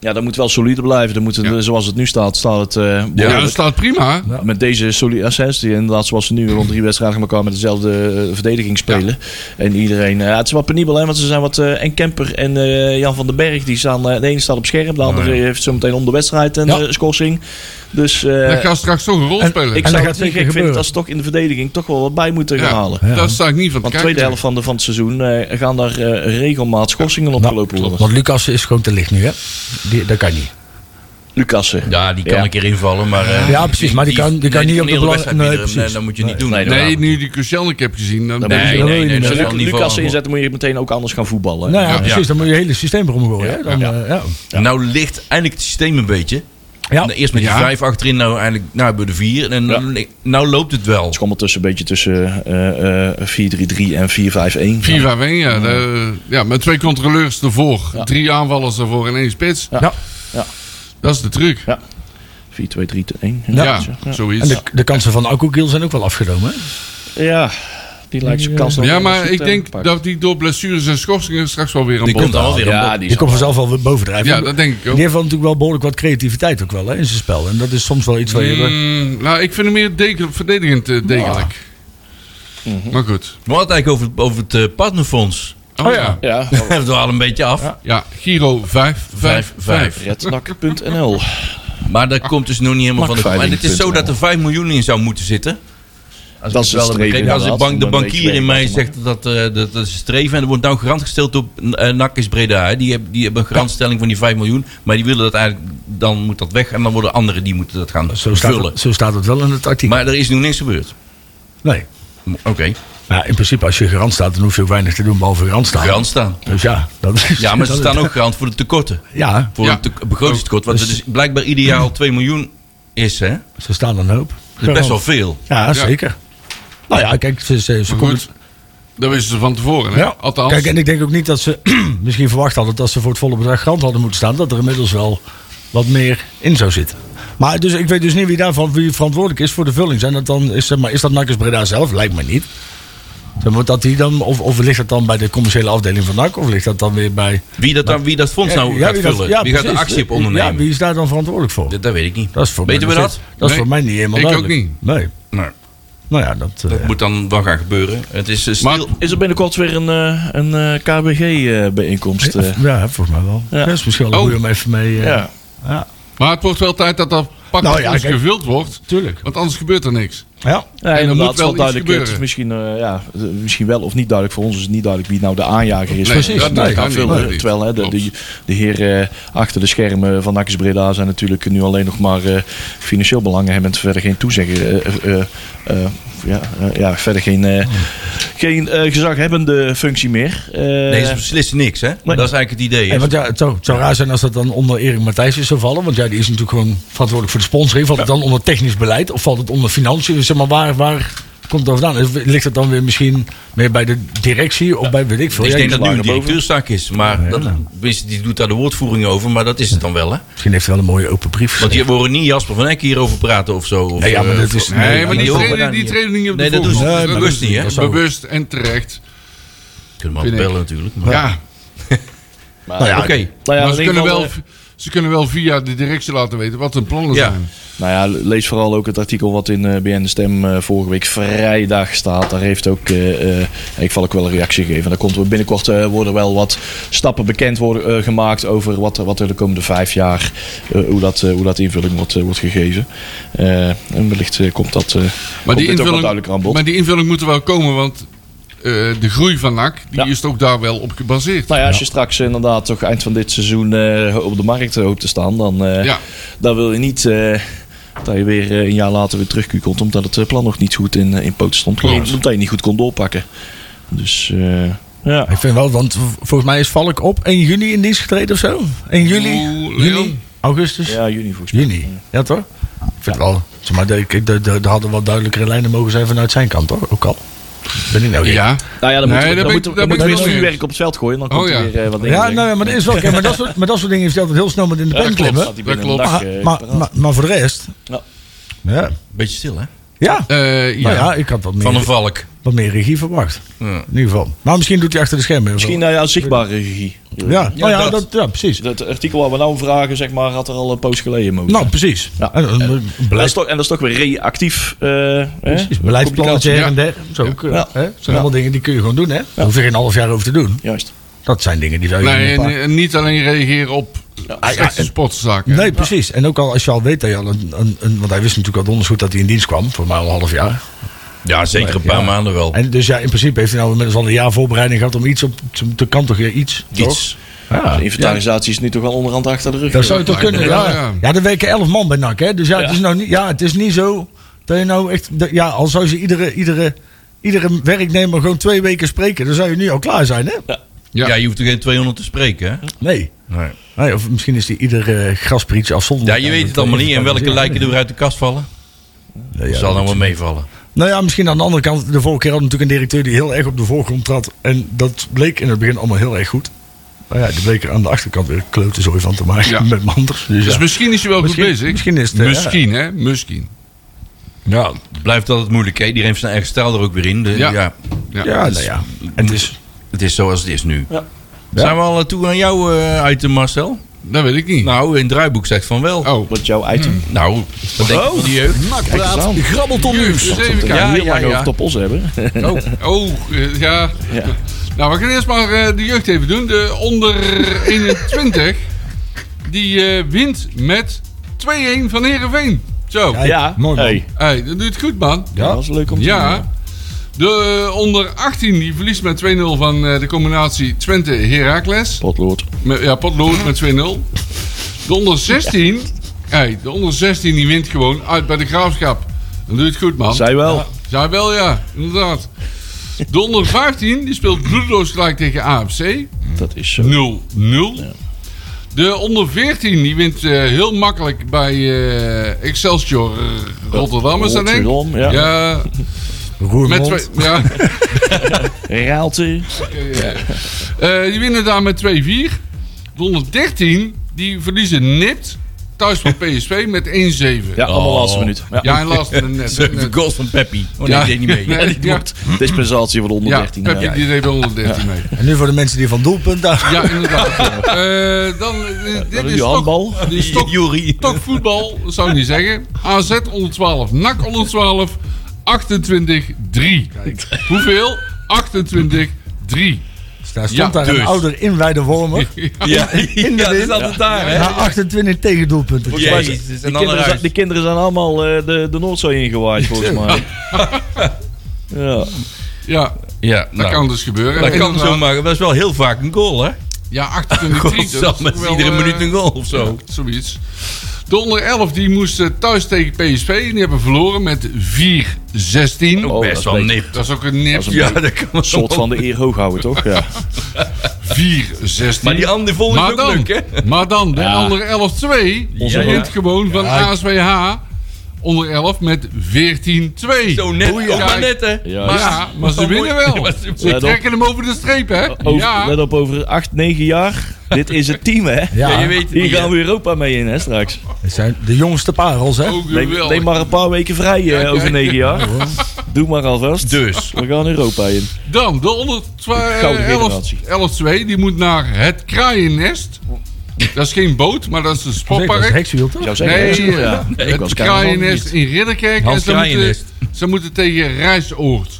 E: Ja, dat moet wel solide blijven. Dan moet het, eh,
B: Ja.
E: Zoals het nu staat, staat het eh,
B: Ja,
E: behoorlijk.
B: dat staat prima.
C: Ja.
E: Met deze solide assentie, die inderdaad zoals ze nu rond drie wedstrijden met elkaar met dezelfde eh, verdediging spelen. En iedereen, eh, ja, het is wat penibel hè, want ze zijn wat, eh, en Kemper en eh, Jan van den Berg, die staan, eh, de ene staat op scherp, de
B: Oh,
E: andere heeft zo meteen om de wedstrijd een
C: Ja.
E: eh, schorsing. Dus eh,
B: dat gaat straks toch een rol
C: en-
B: spelen.
E: ik
C: En dat
E: zou
C: gaat
E: het
C: zeker
E: niet gek vinden
C: gebeuren.
E: dat ze toch in de verdediging toch wel wat bij moeten
B: ja,
E: gaan halen.
C: Ja.
B: Daar sta ik niet van te
E: Want de
B: kijken.
E: tweede helft van, de, van het seizoen eh, gaan daar eh regelmaat schorsingen
C: Nou,
E: opgelopen worden.
C: want Lucas is gewoon te licht nu, hè? Die, dat kan niet.
E: Lucassen.
D: Ja, die kan
E: Ja.
D: een keer invallen, maar... eh,
C: Ja, precies, maar die kan- die kan niet op de
D: hele
C: belang-
D: wedstrijd
C: nee,
D: bieden.
C: precies.
D: dat moet je niet doen.
E: nee,
B: Nee,
D: inderdaad.
B: nu die Crucial ik heb gezien. Dan
E: Dan
B: ben
E: moet
B: je-
D: Nee,
E: je-
D: nee, nee, dat
E: Als
D: is
E: je
D: wel
E: Luc-
D: niet
E: Lucas
D: voor-
E: inzet, dan moet je meteen ook anders gaan voetballen.
C: Nou ja,
B: Ja.
C: precies, dan moet je hele systeem erom gooien. hè? Dan,
B: Ja.
C: eh, ja.
D: Nou ligt eindelijk het systeem een beetje.
C: Ja.
D: Nou, Eerst met die
B: Ja.
D: vijf achterin, nou eindelijk nou, hebben we de vier. En nou, nou loopt het wel.
E: Het is allemaal tussen, een beetje tussen eh, eh, 4-3-3 en 4-5-1.
B: 4 5 1 ja. de- ja, met twee controleurs ervoor. Drie aanvallers ervoor en één spits.
C: Ja.
E: Ja.
B: Dat is de truc.
E: Ja. 4-2-3-1.
B: Ja,
E: ja.
B: zoiets.
C: En de, de kansen van Akkoekiel zijn ook wel afgenomen. hè?
E: Ja, die lijkt zijn kans nog
B: ja,
E: wel
B: maar
E: eens goed
B: ik
E: te
B: denk
E: pakken.
B: dat die door blessures en schorsingen straks wel weer
D: Die
B: een
D: komt
B: bond
D: dan wel weer een
E: Ja,
D: bot.
E: die
C: Die
E: is
C: komt vanzelf wel weer bovendrijven.
B: Ja, dat denk ik ook.
C: Die heeft wel natuurlijk wel behoorlijk wat creativiteit ook wel hè, in zijn spel. En dat is soms wel iets waar je...
B: Mm, nou, ik vind hem meer degel- verdedigend eh, degelijk. Maar goed.
D: We hadden het eigenlijk over, het- over het eh, partnerfonds. (laughs)
B: Oh, ja.
E: Ja,
D: We dwalen een beetje af.
B: Ja, Giro 555.
E: redsnak.nl.
D: Maar dat komt dus nog niet helemaal van de
E: Markveiling.nl.
D: En het is zo dat er 5 miljoen in zou moeten zitten. Als
E: Dat
D: ik
E: is
D: het
E: het streven,
D: begrepen- Als de,
E: inderdaad.
D: bank, de
E: Dan weet je
D: bankier in
E: werk
D: mij
E: wat ze
D: zegt dat, eh, dat dat is streven. En er wordt nou garant gesteld op eh Nakkes Breda. hè. Die, hebben, die hebben een garantstelling van die 5 miljoen. Maar die willen dat eigenlijk... Dan moet dat weg. En dan worden anderen die moeten dat gaan
C: Zo staat,
D: vullen.
C: het, zo staat het wel in het artikel.
D: Maar er is nu niks gebeurd.
C: Nee.
D: Oké.
C: Nou, in principe, als je garant staat, dan hoef je ook weinig te doen behalve garant staan.
D: Garant staan.
C: Dus ja, dat is...
D: Ja, maar ze
C: dat is-
D: staan ook garant voor de tekorten.
C: Ja,
D: Voor
B: Ja.
D: het te- begrotingstekort. Wat
C: Dus-
D: dus blijkbaar ideaal 2 miljoen is, hè? Dat
C: ze staan een hoop.
D: is best wel veel.
C: Ja, zeker. Nou ja, kijk, ze, ze, ze
B: Maar
C: komen...
B: goed, dat wisten ze van tevoren. Hè?
C: Ja,
B: Althans,
C: Kijk, en ik denk ook niet dat ze (clears throat) misschien verwacht hadden dat ze voor het volle bedrag garant hadden moeten staan. Dat er inmiddels wel wat meer in zou zitten. Maar dus, ik weet dus niet wie daarvan wie verantwoordelijk is voor de vulling. Zijn dat dan, is, zeg maar, is dat Nakkers Breda zelf? Lijkt me niet. Zeg maar, dat die dan, of, of ligt dat dan bij de commerciële afdeling van NAC? Of ligt dat dan weer bij...
D: Wie dat, dan, wie dat fonds nou gaat
C: wie dat-
D: vullen. wie gaat de
C: precies.
D: actie op ondernemen.
C: Ja, wie is daar dan verantwoordelijk voor?
D: Dat, dat weet ik niet.
C: Dat is voor
D: Weten
C: mij
D: we
C: nog
D: dat?
C: steeds- Dat is
B: Nee,
C: voor mij niet helemaal
B: ik ook
C: duidelijk.
B: niet.
C: Nee.
D: Nee.
C: Nou ja, dat... eh,
D: Dat moet dan wel gaan gebeuren. Het is eh,
B: Maar-
D: stil-
E: Is er binnenkort weer een, eh, een eh, KBG-bijeenkomst?
D: eh,
C: ja, volgens mij wel.
E: Ja.
C: Dat is misschien wel een
B: Oh.
C: goeie om even mee... eh,
E: ja.
B: Maar het wordt wel tijd dat dat pak
C: Nou ja,
B: eens
C: kijk.
B: gevuld wordt.
C: Tuurlijk.
B: Want anders gebeurt er niks.
C: Ja.
E: Ja,
B: En er
E: inderdaad,
B: moet wel
E: het is wel
B: iets
E: duidelijk. Het is
B: gebeuren.
E: misschien, eh, ja, eh, misschien wel of niet duidelijk voor ons. Is het niet duidelijk wie nou de aanjager is. Nou,
B: Nee,
E: van
B: precies.
E: dat
B: Nee,
E: gaan
B: nee,
E: vullen.
B: nee, nee.
E: eh, Terwijl hè, de,
B: Klopt.
E: de, de heren eh, achter de schermen van Nakkes Breda zijn natuurlijk nu alleen nog maar eh, financieel belangen hebben. en Verder geen toezeggen. eh, eh, eh, ja, eh, ja, verder geen, eh, geen eh, gezaghebbende functie meer. Eh,
D: Nee, ze beslissen niks, hè? Dat is eigenlijk het idee.
C: En want ja, het, zou, het zou raar zijn als dat dan onder Erik Matthijssen zou vallen. Want ja, die is natuurlijk gewoon verantwoordelijk voor de sponsoring. Valt het dan onder technisch beleid of valt het onder financiën? Zeg maar, waar, waar komt dat vandaan? Is- Ligt het dan weer misschien meer bij de directie of bij weet ik veel?
D: Ik
C: Ja,
D: denk dat nu een
E: naar boven.
D: directeurstaak is. Maar dat, tenminste, die doet daar de woordvoering over. Maar dat is het dan wel, hè?
C: Misschien heeft hij wel een mooie open brief
D: Want
C: geschreven.
D: die horen niet Jasper van Eck hierover praten of zo. Of,
C: Nee, ja, maar
D: eh,
C: dat is...
B: Nee, maar die
D: dat doen we
B: trainen, die trainen niet op de
D: Nee, dat doen ze
B: voorgrond.
D: niet.
B: Dat
D: Bewust
B: doen ze
D: niet, hè?
B: Dat is
C: Zo.
B: Bewust en terecht.
D: kunnen we
B: vind
D: altijd
B: ik.
D: bellen natuurlijk. Maar,
B: Ja,
E: maar-
D: Oké.
E: Nou ja,
B: maar
E: in
B: ze
E: ieder
B: kunnen,
E: geval,
B: wel,
E: eh,
B: ze kunnen wel via de directie laten weten wat hun plannen
D: Ja.
B: zijn.
E: Nou ja, lees vooral ook het artikel wat in eh, BN De Stem eh, vorige week vrijdag staat. Daar heeft ook, eh, eh, ik val ook wel een reactie gegeven. Daar komt binnenkort eh, worden wel wat stappen bekend worden, eh, gemaakt over wat, wat er de komende vijf jaar, eh, hoe, dat, eh, hoe dat invulling wordt, eh, wordt gegeven. Eh, en wellicht eh, komt dat eh
B: Maar die,
E: komt dit ook wel
B: invulling,
E: duidelijker aan bod.
B: maar die invulling moet er wel komen, want eh, de groei van NAC die
E: Ja.
B: is ook daar wel op gebaseerd.
E: Nou ja, als je straks inderdaad toch eind van dit seizoen eh, op de markt eh, hoopt te staan, dan, eh,
B: Ja.
E: dan wil je niet eh, dat je weer eh, een jaar later weer terugkukelt omdat het eh, plan nog niet goed in, eh, in poot stond.
B: Klopt.
E: Omdat je het niet goed kon doorpakken. Dus eh, ja.
C: Ik vind wel, want v- volgens mij is Valk op 1 juni in dienst getreden of zo. 1 juli?
B: Oeh, Leon.
C: juni? Augustus?
E: ja, juni volgens mij.
C: Juni, ja toch? Ik vind wel, zeg maar, de- ik- de- de- er hadden wel duidelijkere lijnen mogen zijn vanuit zijn kant, hoor. Ook al. Ben ik nou gek?
B: Ja.
E: Nou ja, dan
B: Nee,
E: moeten
B: daar
E: we- dan
B: ben ik-
E: moeten we-
B: daar ben
E: dan moeten
B: ik
E: we weer
B: wel mee
E: vuurwerk op het veld gooien. Dan komt
B: Oh ja.
E: er weer eh, wat dingen.
C: Ja, nou ja, maar dat is wel oké. Maar dat soort, maar dat soort dingen heeft hij altijd heel snel met in de pen klimmen.
B: Dat klopt.
C: Maar,
E: eh,
C: maar, maar, maar voor de rest...
E: Ja.
C: Ja.
D: Beetje stil, hè?
C: Ja.
B: Eh, ja.
C: Nou ja, ik had wat
D: Van een
C: meer,
D: valk.
C: wat meer regie verwacht.
D: Ja.
C: In ieder geval. Maar misschien doet hij achter de schermen.
E: Misschien
C: Misschien,
E: nou ja, zichtbare regie.
C: ja, nou ja,
D: dat.
C: dat. ja, precies.
E: Het artikel waar we nou om vragen, zeg maar, had er al een poos geleden mogen.
C: Nou, precies.
E: Ja.
C: En, een- een
E: en, dat is
C: beleid,
E: toch, en dat is toch weer reactief. eh, hè?
C: precies. Beleidsplannetje her en der. Zo, ook, eh,
E: Ja.
C: hè? Dat zijn allemaal dingen die kun je gewoon doen, hè? Daar hoef je geen half jaar over te doen.
E: Juist.
C: Dat zijn dingen die zou je in
B: Nee,
C: een paar-
B: en, en niet alleen reageren op slechte sportzaken.
C: Nee, precies. En ook al als je al weet dat je al een, een, een- Want hij wist natuurlijk al donders goed dat hij in dienst kwam. Voor mij al een half jaar.
D: Ja, zeker een paar
C: Ja.
D: maanden wel.
C: En dus ja, in principe heeft hij nou inmiddels al een jaar voorbereiding gehad om iets op te- te kan toch weer iets. toch?
D: Iets.
C: Ja.
E: De inventarisatie is nu toch wel onderhand achter de rug.
C: Dat zou je toch kunnen.
B: lijkt me
C: Ja.
B: wel, ja.
C: Ja. er werken elf man bij NAC. Hè? Dus ja, Het is nou niet, ja, het is niet zo dat je nou echt. dat- ja, al zou je iedere, iedere, iedere werknemer gewoon twee weken spreken, dan zou je nu al klaar zijn, hè?
B: Ja.
D: Ja. je hoeft er geen 200 te spreken, hè?
C: Nee.
D: Nee.
C: nee Nou of misschien is die iedere grasprietje
D: Ja,
C: afzonderlijk.
D: je weet het allemaal niet. En welke lijken er uit de kast vallen?
C: Ja, ja,
D: Zal dan wel meevallen.
C: Nou ja, misschien aan de andere kant. De vorige keer hadden we natuurlijk een directeur die heel erg op de voorgrond trad. En dat bleek in het begin allemaal heel erg goed. Maar ja, die bleek er aan de achterkant weer kleuterzooi van te maken
B: Ja.
C: (laughs) met manders. Dus
B: Dus
C: ja.
B: misschien is je wel
C: Misschien-
B: goed bezig.
C: misschien is het, eh,
B: Misschien, hè? Misschien.
C: Ja,
D: Blijft altijd moeilijk, hè? Iedereen heeft zijn eigen stijl er ook weer in. De-
B: Ja.
D: ja,
B: Ja.
C: ja, nou ja. En dus,
D: het is zoals het is nu. Zijn we al toe aan jouw eh, item, Marcel?
B: Dat weet ik niet.
D: Nou, in het draaiboek zegt van wel.
B: Oh, Nou,
E: Wat jouw item.
D: Nou, dat denk ik van die jeugd.
E: eens
A: Nakpraat,
E: aan.
A: grabbelton nieuws.
B: Jezus, even
D: Ja,
B: kijken.
E: Heel lang
D: ja.
E: over het op ons hebben. (laughs)
B: Oh, oh eh, ja.
E: Ja.
B: Nou, we gaan eerst maar eh, de jeugd even doen. De onder 21, die eh, wint met 2-1 van Heerenveen. Zo.
C: Ja.
E: Ja,
C: Mooi, man.
E: Hey.
B: Hey, dat doe je het goed, man.
E: Ja, dat was leuk om te zien.
B: Ja. De eh, onder 18 die verliest met 2-0 van eh, de combinatie Twente Heracles.
E: Potlood.
B: Met, ja, potlood met 2-0. De onder 16, hey, de onder 16 die wint gewoon uit bij de graafschap. Dan doe je het goed, man.
E: Zij wel.
B: Zij wel, ja, inderdaad. De onder 15 die speelt bloedloos gelijk tegen AFC.
E: Dat is zo.
B: 0-0. De onder 14 die wint eh, heel makkelijk bij eh, Excelsior Rotterdam, is dat denk ik?
E: Rotterdam, ja.
B: ja met
C: Roermond.
B: twee, ja,
E: Raalte.
B: Eh, die winnen daar met 2-4. De 113 die verliezen nipt thuis van PSV met 1-7.
E: Ja, allemaal
D: Oh.
E: laatste minuut. Ja.
B: ja, en laatst net. net-
D: (laughs) De goals van Peppi. Oh nee,
B: eh, Ja.
D: die deed niet mee.
B: (laughs) Nee.
E: En die
B: Ja.
E: doet dispensatie voor de onder
B: ja,
E: 13.
B: Pepje,
E: Ja.
B: die deed wel 113 mee.
C: En nu voor de mensen die van doelpunt daar.
B: Ja, inderdaad. Eh, dan, eh, dit
E: is
B: is
E: die handbal.
B: Toch, (laughs) dit is toch,
D: Jury.
B: toch voetbal, zou ik niet zeggen. AZ onder 12, NAC onder 12, 28-3. Hoeveel? 28-3.
C: Daar stond
B: Ja,
C: daar
B: dus.
C: een ouder inwijde Wormer.
D: Ja,
C: In
D: ja,
C: de
D: Oh, dat
C: wind.
D: is altijd daar, hè?
C: Na 28 tegendoelpunten.
D: Jezus, en
E: De
D: dan
E: kinderen,
D: eruit.
E: zijn, de kinderen zijn allemaal eh, de, de Noordzee ingewaaid, volgens mij. Ja.
B: Ja,
D: Ja,
B: dat
D: nou,
B: kan dus gebeuren.
D: dat
B: En
D: kan
B: inderdaad-
D: zo maken. Dat is wel heel vaak een goal, hè?
B: Ja,
D: (laughs)
B: 28-3. dat is
D: Godzam,
B: toch
D: met
B: wel,
D: iedere
B: eh,
D: minuut een goal of zo.
B: Ja, zoiets. De onder 11 die moest eh, thuis tegen PSV. en Die hebben verloren met 4-16.
E: Oh, dat
D: Best
E: is
D: wel
E: beter.
D: nip.
B: Dat is ook een nep.
E: een
D: Ja, (laughs) dat kan wel.
E: Een soort van de eer hoog houden, toch? Ja.
B: 4-16.
D: Maar die andere volgende
B: Maar
D: is ook
B: dan,
D: leuk, hè?
B: maar dan, de
E: Ja.
B: onder 11-2
D: Onze
B: wint
D: man.
B: gewoon van ASWH onder 11 met 14-2.
D: Zo net, ook maar
B: Kijk,
D: net, hè?
E: Ja.
B: Maar, ja, maar
D: (laughs)
B: ze winnen wel.
D: Ja, ze-
B: Ze
E: Let op.
B: trekken hem over de streep, hè?
E: Over,
B: Ja,
E: Let op, over 8, 9 jaar. Dit is het team, hè?
D: Ja, je
C: Ja,
D: weet het
E: Hier
D: niet, hè?
E: gaan we Europa mee in, hè, straks.
C: dat zijn de jongste parels,
D: Oh.
C: hè?
B: ook
E: Neem,
B: geweldig.
E: neem maar een paar weken vrij eh,
B: ja.
E: over 9 jaar. Doe maar alvast.
D: Dus.
E: We gaan Europa in.
B: Dan, de onder eh,
E: Gouden generatie.
B: 11-2, die moet naar het kraaiennest. Dat is geen boot, maar dat is een
C: Zeker, dat is
B: sportpark.
C: Hekswiel, toch?
E: Ik zou zeggen,
B: Nee,
E: Excelsior, ja. ik
B: het
E: was Karel Jan
B: kraaiennest
E: niet.
B: in Ridderkerk.
D: Hans
B: en ze moeten,
D: Kraaiennest. Oh.
B: ze moeten tegen Rijsoord.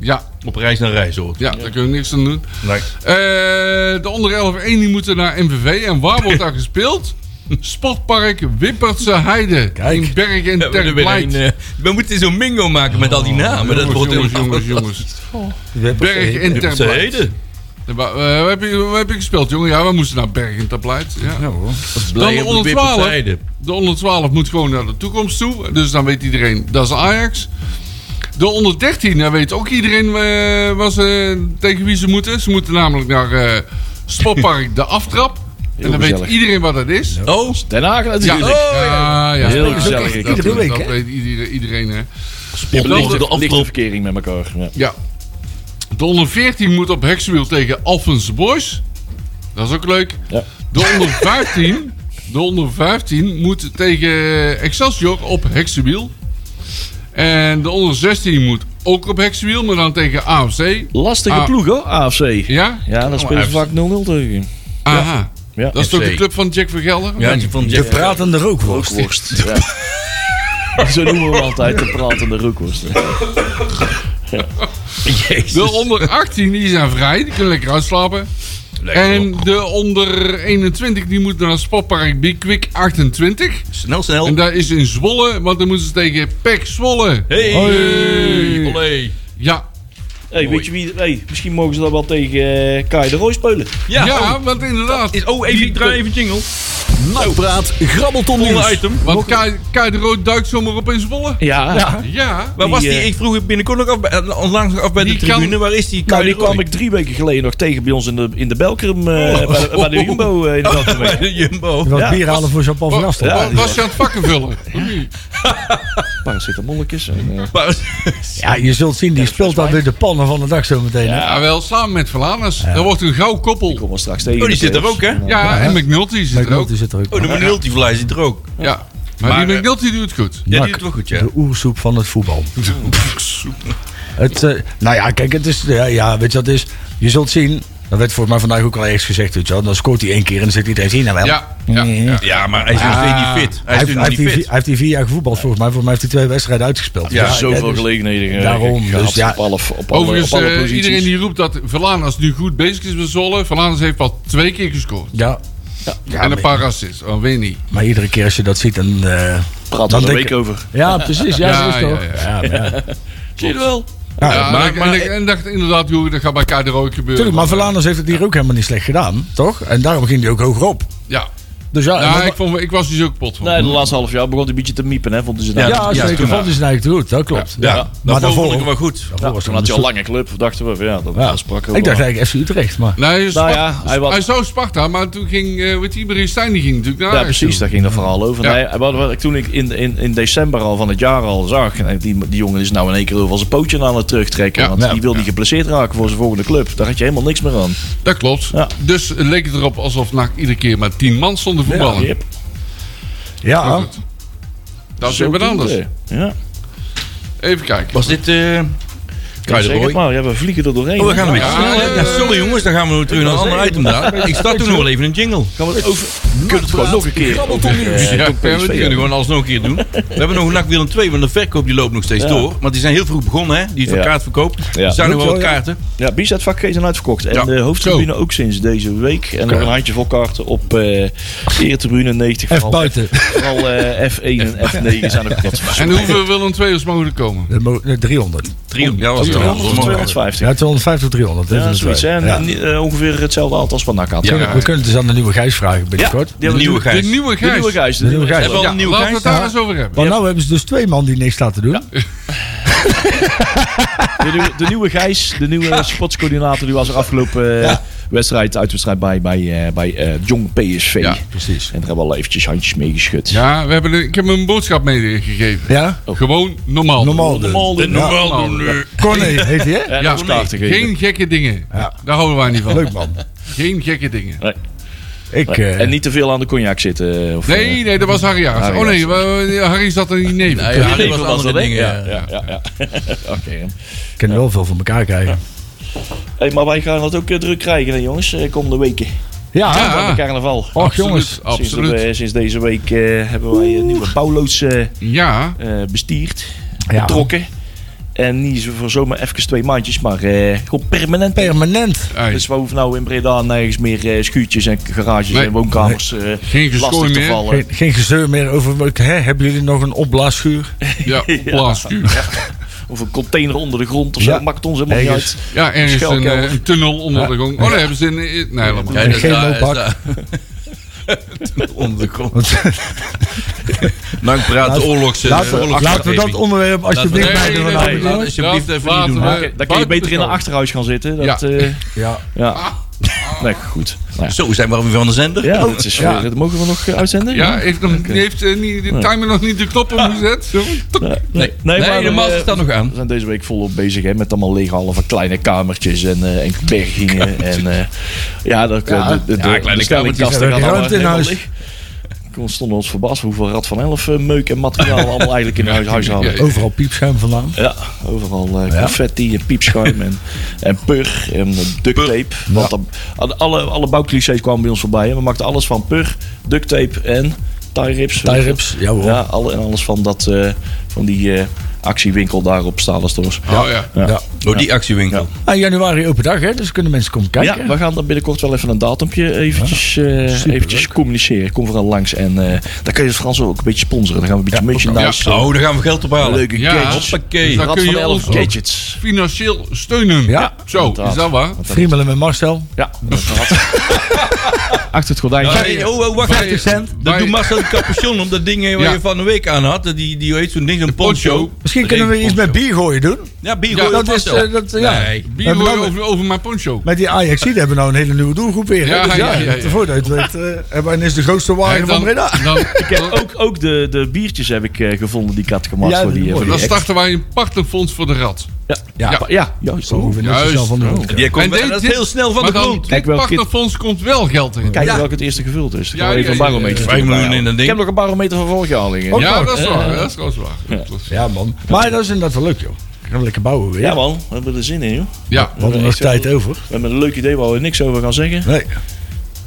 B: Ja,
D: Op reis naar reis, hoor.
B: ja, daar kunnen we niks aan doen.
D: Nee.
B: Eh, de onder 11-1 die moeten naar MVV. En waar wordt daar gespeeld? (laughs) Sportpark Wippertse Heide.
C: Kijk.
B: In Bergen en
D: We, hebben er weer
B: Terblijd.
D: een, eh, we moeten zo'n mingo maken met al die namen. dat wordt
B: jongens,
D: helemaal-
B: jongens, jongens. Berg
C: Berg
B: en
D: Ze
B: Terblijd.
D: heden.
B: Ja, maar, eh, Waar heb, je, waar heb je gespeeld, jongen? Ja, we moesten naar Berg en Terblijd. Ja. Dan
D: Blij
B: de
D: op de
B: onder
D: wippen
B: 12.
D: zijde.
B: De onder 12 moet gewoon naar de toekomst toe. Dus dan weet iedereen, dat is Ajax. De onder 13, daar weet ook iedereen eh, waar ze, tegen wie ze moeten. Ze moeten namelijk naar eh Sportpark De Aftrap. En dan weet
E: gezellig.
B: iedereen wat dat is.
D: Oh,
E: Den Haag
B: Ja,
E: natuurlijk.
B: oh, ja. ja.
E: Heel
B: Dat-
E: gezellig.
B: dat-
E: Iedere
B: dat-
C: week,
B: Dat
C: hè?
B: weet iedereen, iedereen eh. hè.
D: op
B: lichte-
D: de
E: Lichte
D: aftrap.
E: verkering met elkaar. Ja.
B: Ja. De onder 14 moet op Hexwiel tegen Alphonse Boys. Dat is ook leuk.
E: Ja.
B: De onder 15, de onder 15 moet tegen Excelsior op Hexwiel. En de onder 16 moet ook op Hexwiel, maar dan tegen AFC.
E: Lastige
B: Ah.
E: ploeg, hoor, AFC.
B: Ja?
E: Ja, dan spelen ze vaak 0-0 tegen.
B: Aha.
E: Ja.
B: Dat is toch
D: FC.
B: de club van Jack van Gelder?
D: Ja, die van
C: De
D: Jack.
C: pratende rookworst.
E: Rookworst. Ja. Zo noemen we hem altijd de pratende rookworst.
B: De
D: Jezus.
B: onder 18 die zijn vrij, die kunnen lekker uitslapen.
D: En
B: En de onder 21 die moet naar het sportpark Big Quick 28.
D: snel, snel.
B: En daar is in Zwolle, want dan moeten ze tegen PEC Zwolle.
D: Hey.
B: Hoi.
D: Olé.
B: Ja.
E: Hey, weet je wie, hey, misschien mogen ze dat wel tegen eh Kai de Roy spelen.
B: Ja,
D: Ja. oh.
B: want inderdaad. Nou.
D: Is, oh, even, ik draai even jingle.
A: Nakpraat, grabbelton
D: Volgende
A: nieuws.
D: item.
B: Want Kai, Kai de Rood duikt zomaar op in Zwolle.
E: Ja,
B: Ja.
D: Waar was
E: Die,
D: die?
E: eh,
D: Ik vroeg het binnenkort nog af, bij- eh, onlangs nog af bij de
B: Die kan-
D: tribune. Waar is die?
E: nou, die
D: Kairooi?
E: kwam ik drie weken geleden nog tegen bij ons in de, in de Belkrum, eh, bij, de- bij de Jumbo eh, in de Belkrum.
D: bij de Jumbo. (laughs)
C: Je wilt
E: Ja.
C: bier halen voor zo'n Paul
D: Oh,
C: van
B: Was,
C: Gastel.
E: Ja.
B: was je aan het vakken vullen?
E: Paracetamolletjes. en, eh,
D: Maar-
C: Ja, je zult zien, die speelt dan weer de pannen van de dag zo meteen. hè?
B: Ja, wel samen met Verlaners. Dat wordt een gauw koppel.
E: Kom maar straks tegen.
D: Oh,
E: in
D: die
E: de
D: zit er ook,
E: playoffs.
D: hè?
B: Ja, en McNulty zit er ook.
C: McNulty zit er ook.
D: Oh, de multivlyer zit er ook.
B: Ja. Maar,
D: Maar,
B: die
D: eh,
B: McNulty doet het goed.
D: Ja, die
C: Nak,
D: doet wel goed, ja.
C: De oersoep van het voetbal. Het, eh, nou ja, kijk, het is, ja, ja, weet je wat het is? Je zult zien, dat werd volgens mij vandaag ook al eens gezegd, weet je wel. Dan scoort hij één keer en dan zit iedereen zien nou wel.
B: Ja. ja, ja.
D: Ja, maar hij is nog
B: Ah.
D: steeds niet fit. Hij
C: Hij
D: is
C: heeft, hij,
D: natuurlijk
C: heeft
D: niet
C: die, vier-
D: fit.
C: hij heeft die vier jaar gevoetbald, volgens mij. Volgens mij heeft hij twee wedstrijden uitgespeeld.
D: Ja,
E: Zoveel
C: dus-
E: gelegenheden. eh,
C: Daarom,
E: gehad
C: dus ja.
E: op alle, op alle,
B: Overigens,
E: op alle
B: eh,
E: posities.
B: iedereen die roept dat Verlaners nu goed bezig is met Zwolle. Verlaners heeft al twee keer gescoord.
C: Ja. Ja,
B: en
C: maar,
B: een paar assists. Oh, weet niet.
C: maar iedere keer als je dat ziet, dan... eh, dan
E: praat er een
C: denk
E: week
C: ik-
E: over.
C: Ja, precies. Ja,
B: Ja,
C: dat is
B: ja,
C: toch.
B: ja.
C: Ja, maar ja.
E: Zie je wel.
C: Ja,
B: Ja,
D: maar-
B: en ik-
D: maar-
B: en, ik, en dacht inderdaad, joh, dat gaat bij Kai de Rood gebeuren.
C: Tuurlijk, maar Verlanders heeft het hier ook helemaal niet slecht gedaan, toch? En daarom ging hij ook hoger op.
B: Ja.
C: Dus ja, en
B: Ja,
C: dat-
B: ik, vond, ik was dus ook pot van.
E: Nee, de laatste half jaar begon hij een beetje te miepen, hè, vonden ze dat.
C: ja,
D: ja,
C: zeker.
D: toen
C: vond hij zijn eigen goed, dat klopt.
D: Ja,
C: maar daarvoor...
D: vond ik hem wel goed.
C: daarvoor was
E: Toen
C: hij
E: had je al
C: een
E: lange club, dachten we. van, Ja, dat
C: stuk-
E: dat sprak
C: Ja.
E: ook
C: Ik dacht
E: wel.
C: eigenlijk FC Utrecht, maar...
B: Nee, Sparta-
E: Nou ja, hij was-
B: hij zou Sparta, maar toen ging, eh weet je, Ibrahim Stijn die ging natuurlijk naar
E: Ja,
B: Ajax
E: precies,
B: toe.
E: daar ging dat verhaal over.
B: Ja.
E: Nee, wat, wat ik toen ik in, in, in december al van het jaar al zag, en die, die jongen is nou in één keer van zijn pootje aan het terugtrekken.
B: Ja,
E: want
B: ja,
E: die wil niet geblesseerd raken voor zijn volgende club. Daar had je helemaal niks meer aan.
B: Dat klopt.
E: Ja.
B: Dus eh, leek het erop alsof NAC iedere keer maar tien man stonden voetballen.
E: Jip,
C: Ja,
B: Dat is
E: zo
B: weer wat
E: doen
B: anders.
E: we. Ja.
B: Even kijken.
D: Was dit... eh, Kruidenrooy.
E: Zeg het maar, ja, we vliegen er doorheen.
D: Oh, we gaan een beetje
B: Ja,
D: snel, hè?
B: ja,
D: Ja, sorry jongens, dan gaan we nu terug naar een ander item daar. Ik start toen nog wel even een jingle. Gaan we het over...
E: We Nou, kunnen het gewoon nog een keer. over, eh,
D: ja,
E: over
D: we
E: PSV
D: kunnen gewoon alsnog een keer (laughs) doen. We hebben nog een NAC Willem 2, want de verkoop die loopt nog steeds door. Want die zijn heel vroeg begonnen, hè? Die
E: Ja.
D: kaartverkoop. Er zijn nog wel wat kaarten.
E: Ja, Bizetvakkers zijn uitverkocht. En
D: Ja.
E: de hoofdtribune ook sinds deze week. En nog een handjevol kaarten op eh Eretribune 90.
C: Even
E: Vooral-
C: buiten.
E: Vooral eh, F1 en F9 zijn ook wat.
B: En hoeveel Willem II'ers mogen er komen?
C: Dat mo- nee, 300.
D: 300. Ja, was het wel.
E: 200 of 250.
C: Ja, 250 tot 300.
E: Ja,
C: dat is
E: zoiets.
C: wel.
E: hè. En,
C: Ja.
E: en, eh, ongeveer hetzelfde aantal als wat NAC had.
C: Kunnen-
B: ja.
C: We kunnen het dus aan de nieuwe Gijs vragen binnenkort.
E: die
D: De
E: hebben
D: nieuwe
E: natuurlijk-
B: De
D: Gijs.
B: nieuwe
E: De nieuwe
B: Gijs.
E: Gijs.
C: De nieuwe Gijs.
D: Hebben we al een nieuwe
B: Laten we
D: Gijs?
B: het daar
C: Ja.
B: eens over hebben.
C: Want nou hebben ze dus twee man die niks laten doen.
E: De nieuwe, de nieuwe Gijs, de nieuwe sportscoördinator, die was er afgelopen eh, wedstrijd, uitwedstrijd bij, bij, eh, bij eh, Jong PSV.
B: Ja,
C: (laughs) precies.
E: En daar hebben we al eventjes handjes mee geschud.
B: Ja, we hebben de- ik heb hem een boodschap meegegeven.
C: Ja?
B: Gewoon normaal. doen.
C: Normaal
E: dus.
C: doen.
B: Normaal doen.
C: Ja.
B: Normaal doen.
C: Corné heet hij, hè?
E: En
B: Ja,
E: ons kaarten geven.
B: geen gekke dingen.
C: Ja.
B: Daar houden wij niet
C: (laughs)
B: van.
C: Leuk man.
B: Geen gekke dingen.
C: Ik,
E: Nee,
C: eh,
E: En niet te veel aan de cognac zitten. eh, Of,
B: Nee, nee, dat was Harry Jaars.
E: Harry
B: Oh nee, we- Harry zat er niet neven.
D: Ja, ja, nee,
E: was
D: was
E: dat,
D: andere
E: hè?
D: dingen.
E: Ja,
D: ja.
E: ja, ja. ja. eh, Oké. hè.
C: ik kan wel veel van elkaar krijgen.
E: Hey, maar wij gaan dat ook eh, druk krijgen, hè, jongens, eh, komende weken.
C: Ja,
B: Ja. Oh,
E: Aan de carnaval.
C: och jongens.
E: Sinds, de-
B: Absoluut.
E: eh, sinds deze week eh, hebben wij een nieuwe Paulo's eh,
B: Ja,
E: eh, bestierd,
C: Ja.
E: betrokken. En niet zo voor zomaar even twee maandjes, maar eh, gewoon permanent.
C: Permanent.
B: ei.
E: Dus we hoeven nou in Breda nergens meer eh, schuurtjes en garages
B: Nee.
E: en woonkamers eh
B: Geen geschooi
E: lastig te
B: meer.
E: vallen.
C: Geen, geen gezeur meer over... Hè, hebben jullie nog een opblaasvuur?
B: ja, opblaasvuur.
E: Of een container onder de grond of zo,
C: Ja.
E: maakt ons helemaal niet
C: Ergens.
E: uit.
B: Ja, ergens een,
E: Schelkelder.
B: eh, een tunnel onder de grond. Oh, daar hebben ze in... in- Nee, helemaal
D: Ja,
B: niet.
D: dat-
C: geen
D: daar is
C: loopbak.
D: daar- Onder de (laughs) grond. Dank praat de oorlogs. eh,
C: Laten, we-
D: oorlogs-
C: laten we dat onderwerp
D: Laten we-
B: Nee,
C: alsjeblieft bij
B: nee,
C: de
B: nee,
C: vanavond
B: nee,
C: doen.
B: nee.
D: Alsjeblieft, even
B: Laten
D: niet doen,
B: we-
D: hè.
E: Daar kan je beter in een achterhuis gaan zitten. Dat,
B: Ja.
E: ja.
C: Ja.
E: ja. Nee, goed. Nou ja.
D: Zo zijn we alweer van de zender.
E: Ja, dat is weer. Dat mogen we nog eh, uitzenden?
B: Ja, heeft, nog, heeft eh, niet, de timer nog niet de knop omgezet? Zo, tok.
D: Nee,
E: Nee,
D: nee,
E: maar,
D: de master
E: eh,
D: staat nog aan.
E: We zijn deze week volop bezig hè, met allemaal lege halve kleine kamertjes en, eh en bergingen. En, eh, ja, dat, eh, de, de, de,
D: kleine
E: de stellingkasten
C: kamertjes.
E: gaan
C: Ruimte
E: allemaal
C: in
E: helemaal
C: huis.
E: leeg. We stonden ons verbaasd hoeveel Rad van Elf eh, meuk en materiaal we allemaal eigenlijk in huis, huis hadden.
C: Overal piepschuim vandaan.
E: Ja, overal eh, confetti en piepschuim en, en pur en eh, duct tape. Want dan- aan alle, alle bouwclichés kwamen bij ons voorbij. Hè. We maakten alles van pur, duct tape en tie rips.
C: Tie rips, ja hoor.
E: Ja, alle, en alles van, dat, eh, van die eh, actiewinkel daar op Stalenstors.
B: Oh ja.
C: Ja.
D: Door die actiewinkel.
C: Ah, januari open dag, hè? Dus kunnen mensen komen kijken.
E: Ja, we gaan dan binnenkort wel even een datumpje eventjes, eh, eventjes communiceren. Kom vooral langs en eh, dan kun je het Frans ook een beetje sponsoren. Dan gaan we een beetje merchandise, eh,
D: Oh, daar gaan we geld op halen.
E: leuke
B: Ja.
E: gadgets.
D: Hoppakee.
B: nou, Dan
E: Rad
B: kun
E: van
B: je
E: Elf
B: ons ook-
E: gadgets.
B: Financieel steunen.
C: Ja.
B: Zo, is dat waar?
C: Friemelen met Marcel.
E: Ja, dat had. Achter het gordijn.
D: Ja, nee, oh, oh, wacht
B: Wij-
D: even.
C: cent.
D: Dat
B: wij-
D: doet Marcel de capuchon om dat ding eh, waar
B: Ja.
D: je van de week aan had. Die, die heet zo'n ding, zo'n poncho.
B: poncho.
C: Misschien kunnen we iets met bier gooien doen.
D: Ja, bier
B: Ja,
D: gooien
C: dat
D: op
C: is,
D: Marcel.
C: eh, dat, eh, ja.
D: Nee.
B: Bier
C: Maar
B: hoor
C: dan-
B: over, over mijn poncho.
C: Met die Ajax die hebben we nou een hele nieuwe doelgroep weer. hè?
B: Ja,
C: Dus
B: ja,
C: ja,
B: ja, ja.
C: Voordat je het weet, eh, hebben we ineens de grootste wagen
B: Hey,
C: van Breda.
B: dan,
E: Ik heb ook, ook de, de biertjes heb ik eh, gevonden die ik had gemaakt
C: Ja,
E: voor die,
C: mooi.
E: eh, voor die
B: dan
E: act.
B: starten wij een partnerfonds voor de rat.
C: Ja,
B: Ja.
C: ja.
E: Pa- Ja, Oh, juist.
C: Zo hoeven we niet
B: Juist.
C: zo snel van de grond.
D: Die komt
B: En
D: wel-
B: dit-
D: dat is
B: dit-
D: heel snel van de
B: maar dan,
D: grond.
B: dit
E: Kijk welke-
B: partnerfonds komt wel geld in.
E: Kijken welke het eerste gevuld is. Dan
B: Ja,
E: gaan we even
B: ja,
E: een
B: ja,
E: barometer.
B: ja.
D: Vijf miljoen in een
E: Ik heb
D: ding.
E: nog een barometer van vorig jaar liggen.
B: Ja, dat is waar. Dat is trouwens waar. Dat is-
C: Ja, man. Maar dat is inderdaad wel leuk, joh. Dan gaan we lekker bouwen weer.
E: Ja man, we hebben er zin in joh.
B: Ja.
C: we hadden nog
E: echt
C: tijd over.
E: We hebben een leuk idee waar we niks over gaan zeggen.
C: Nee.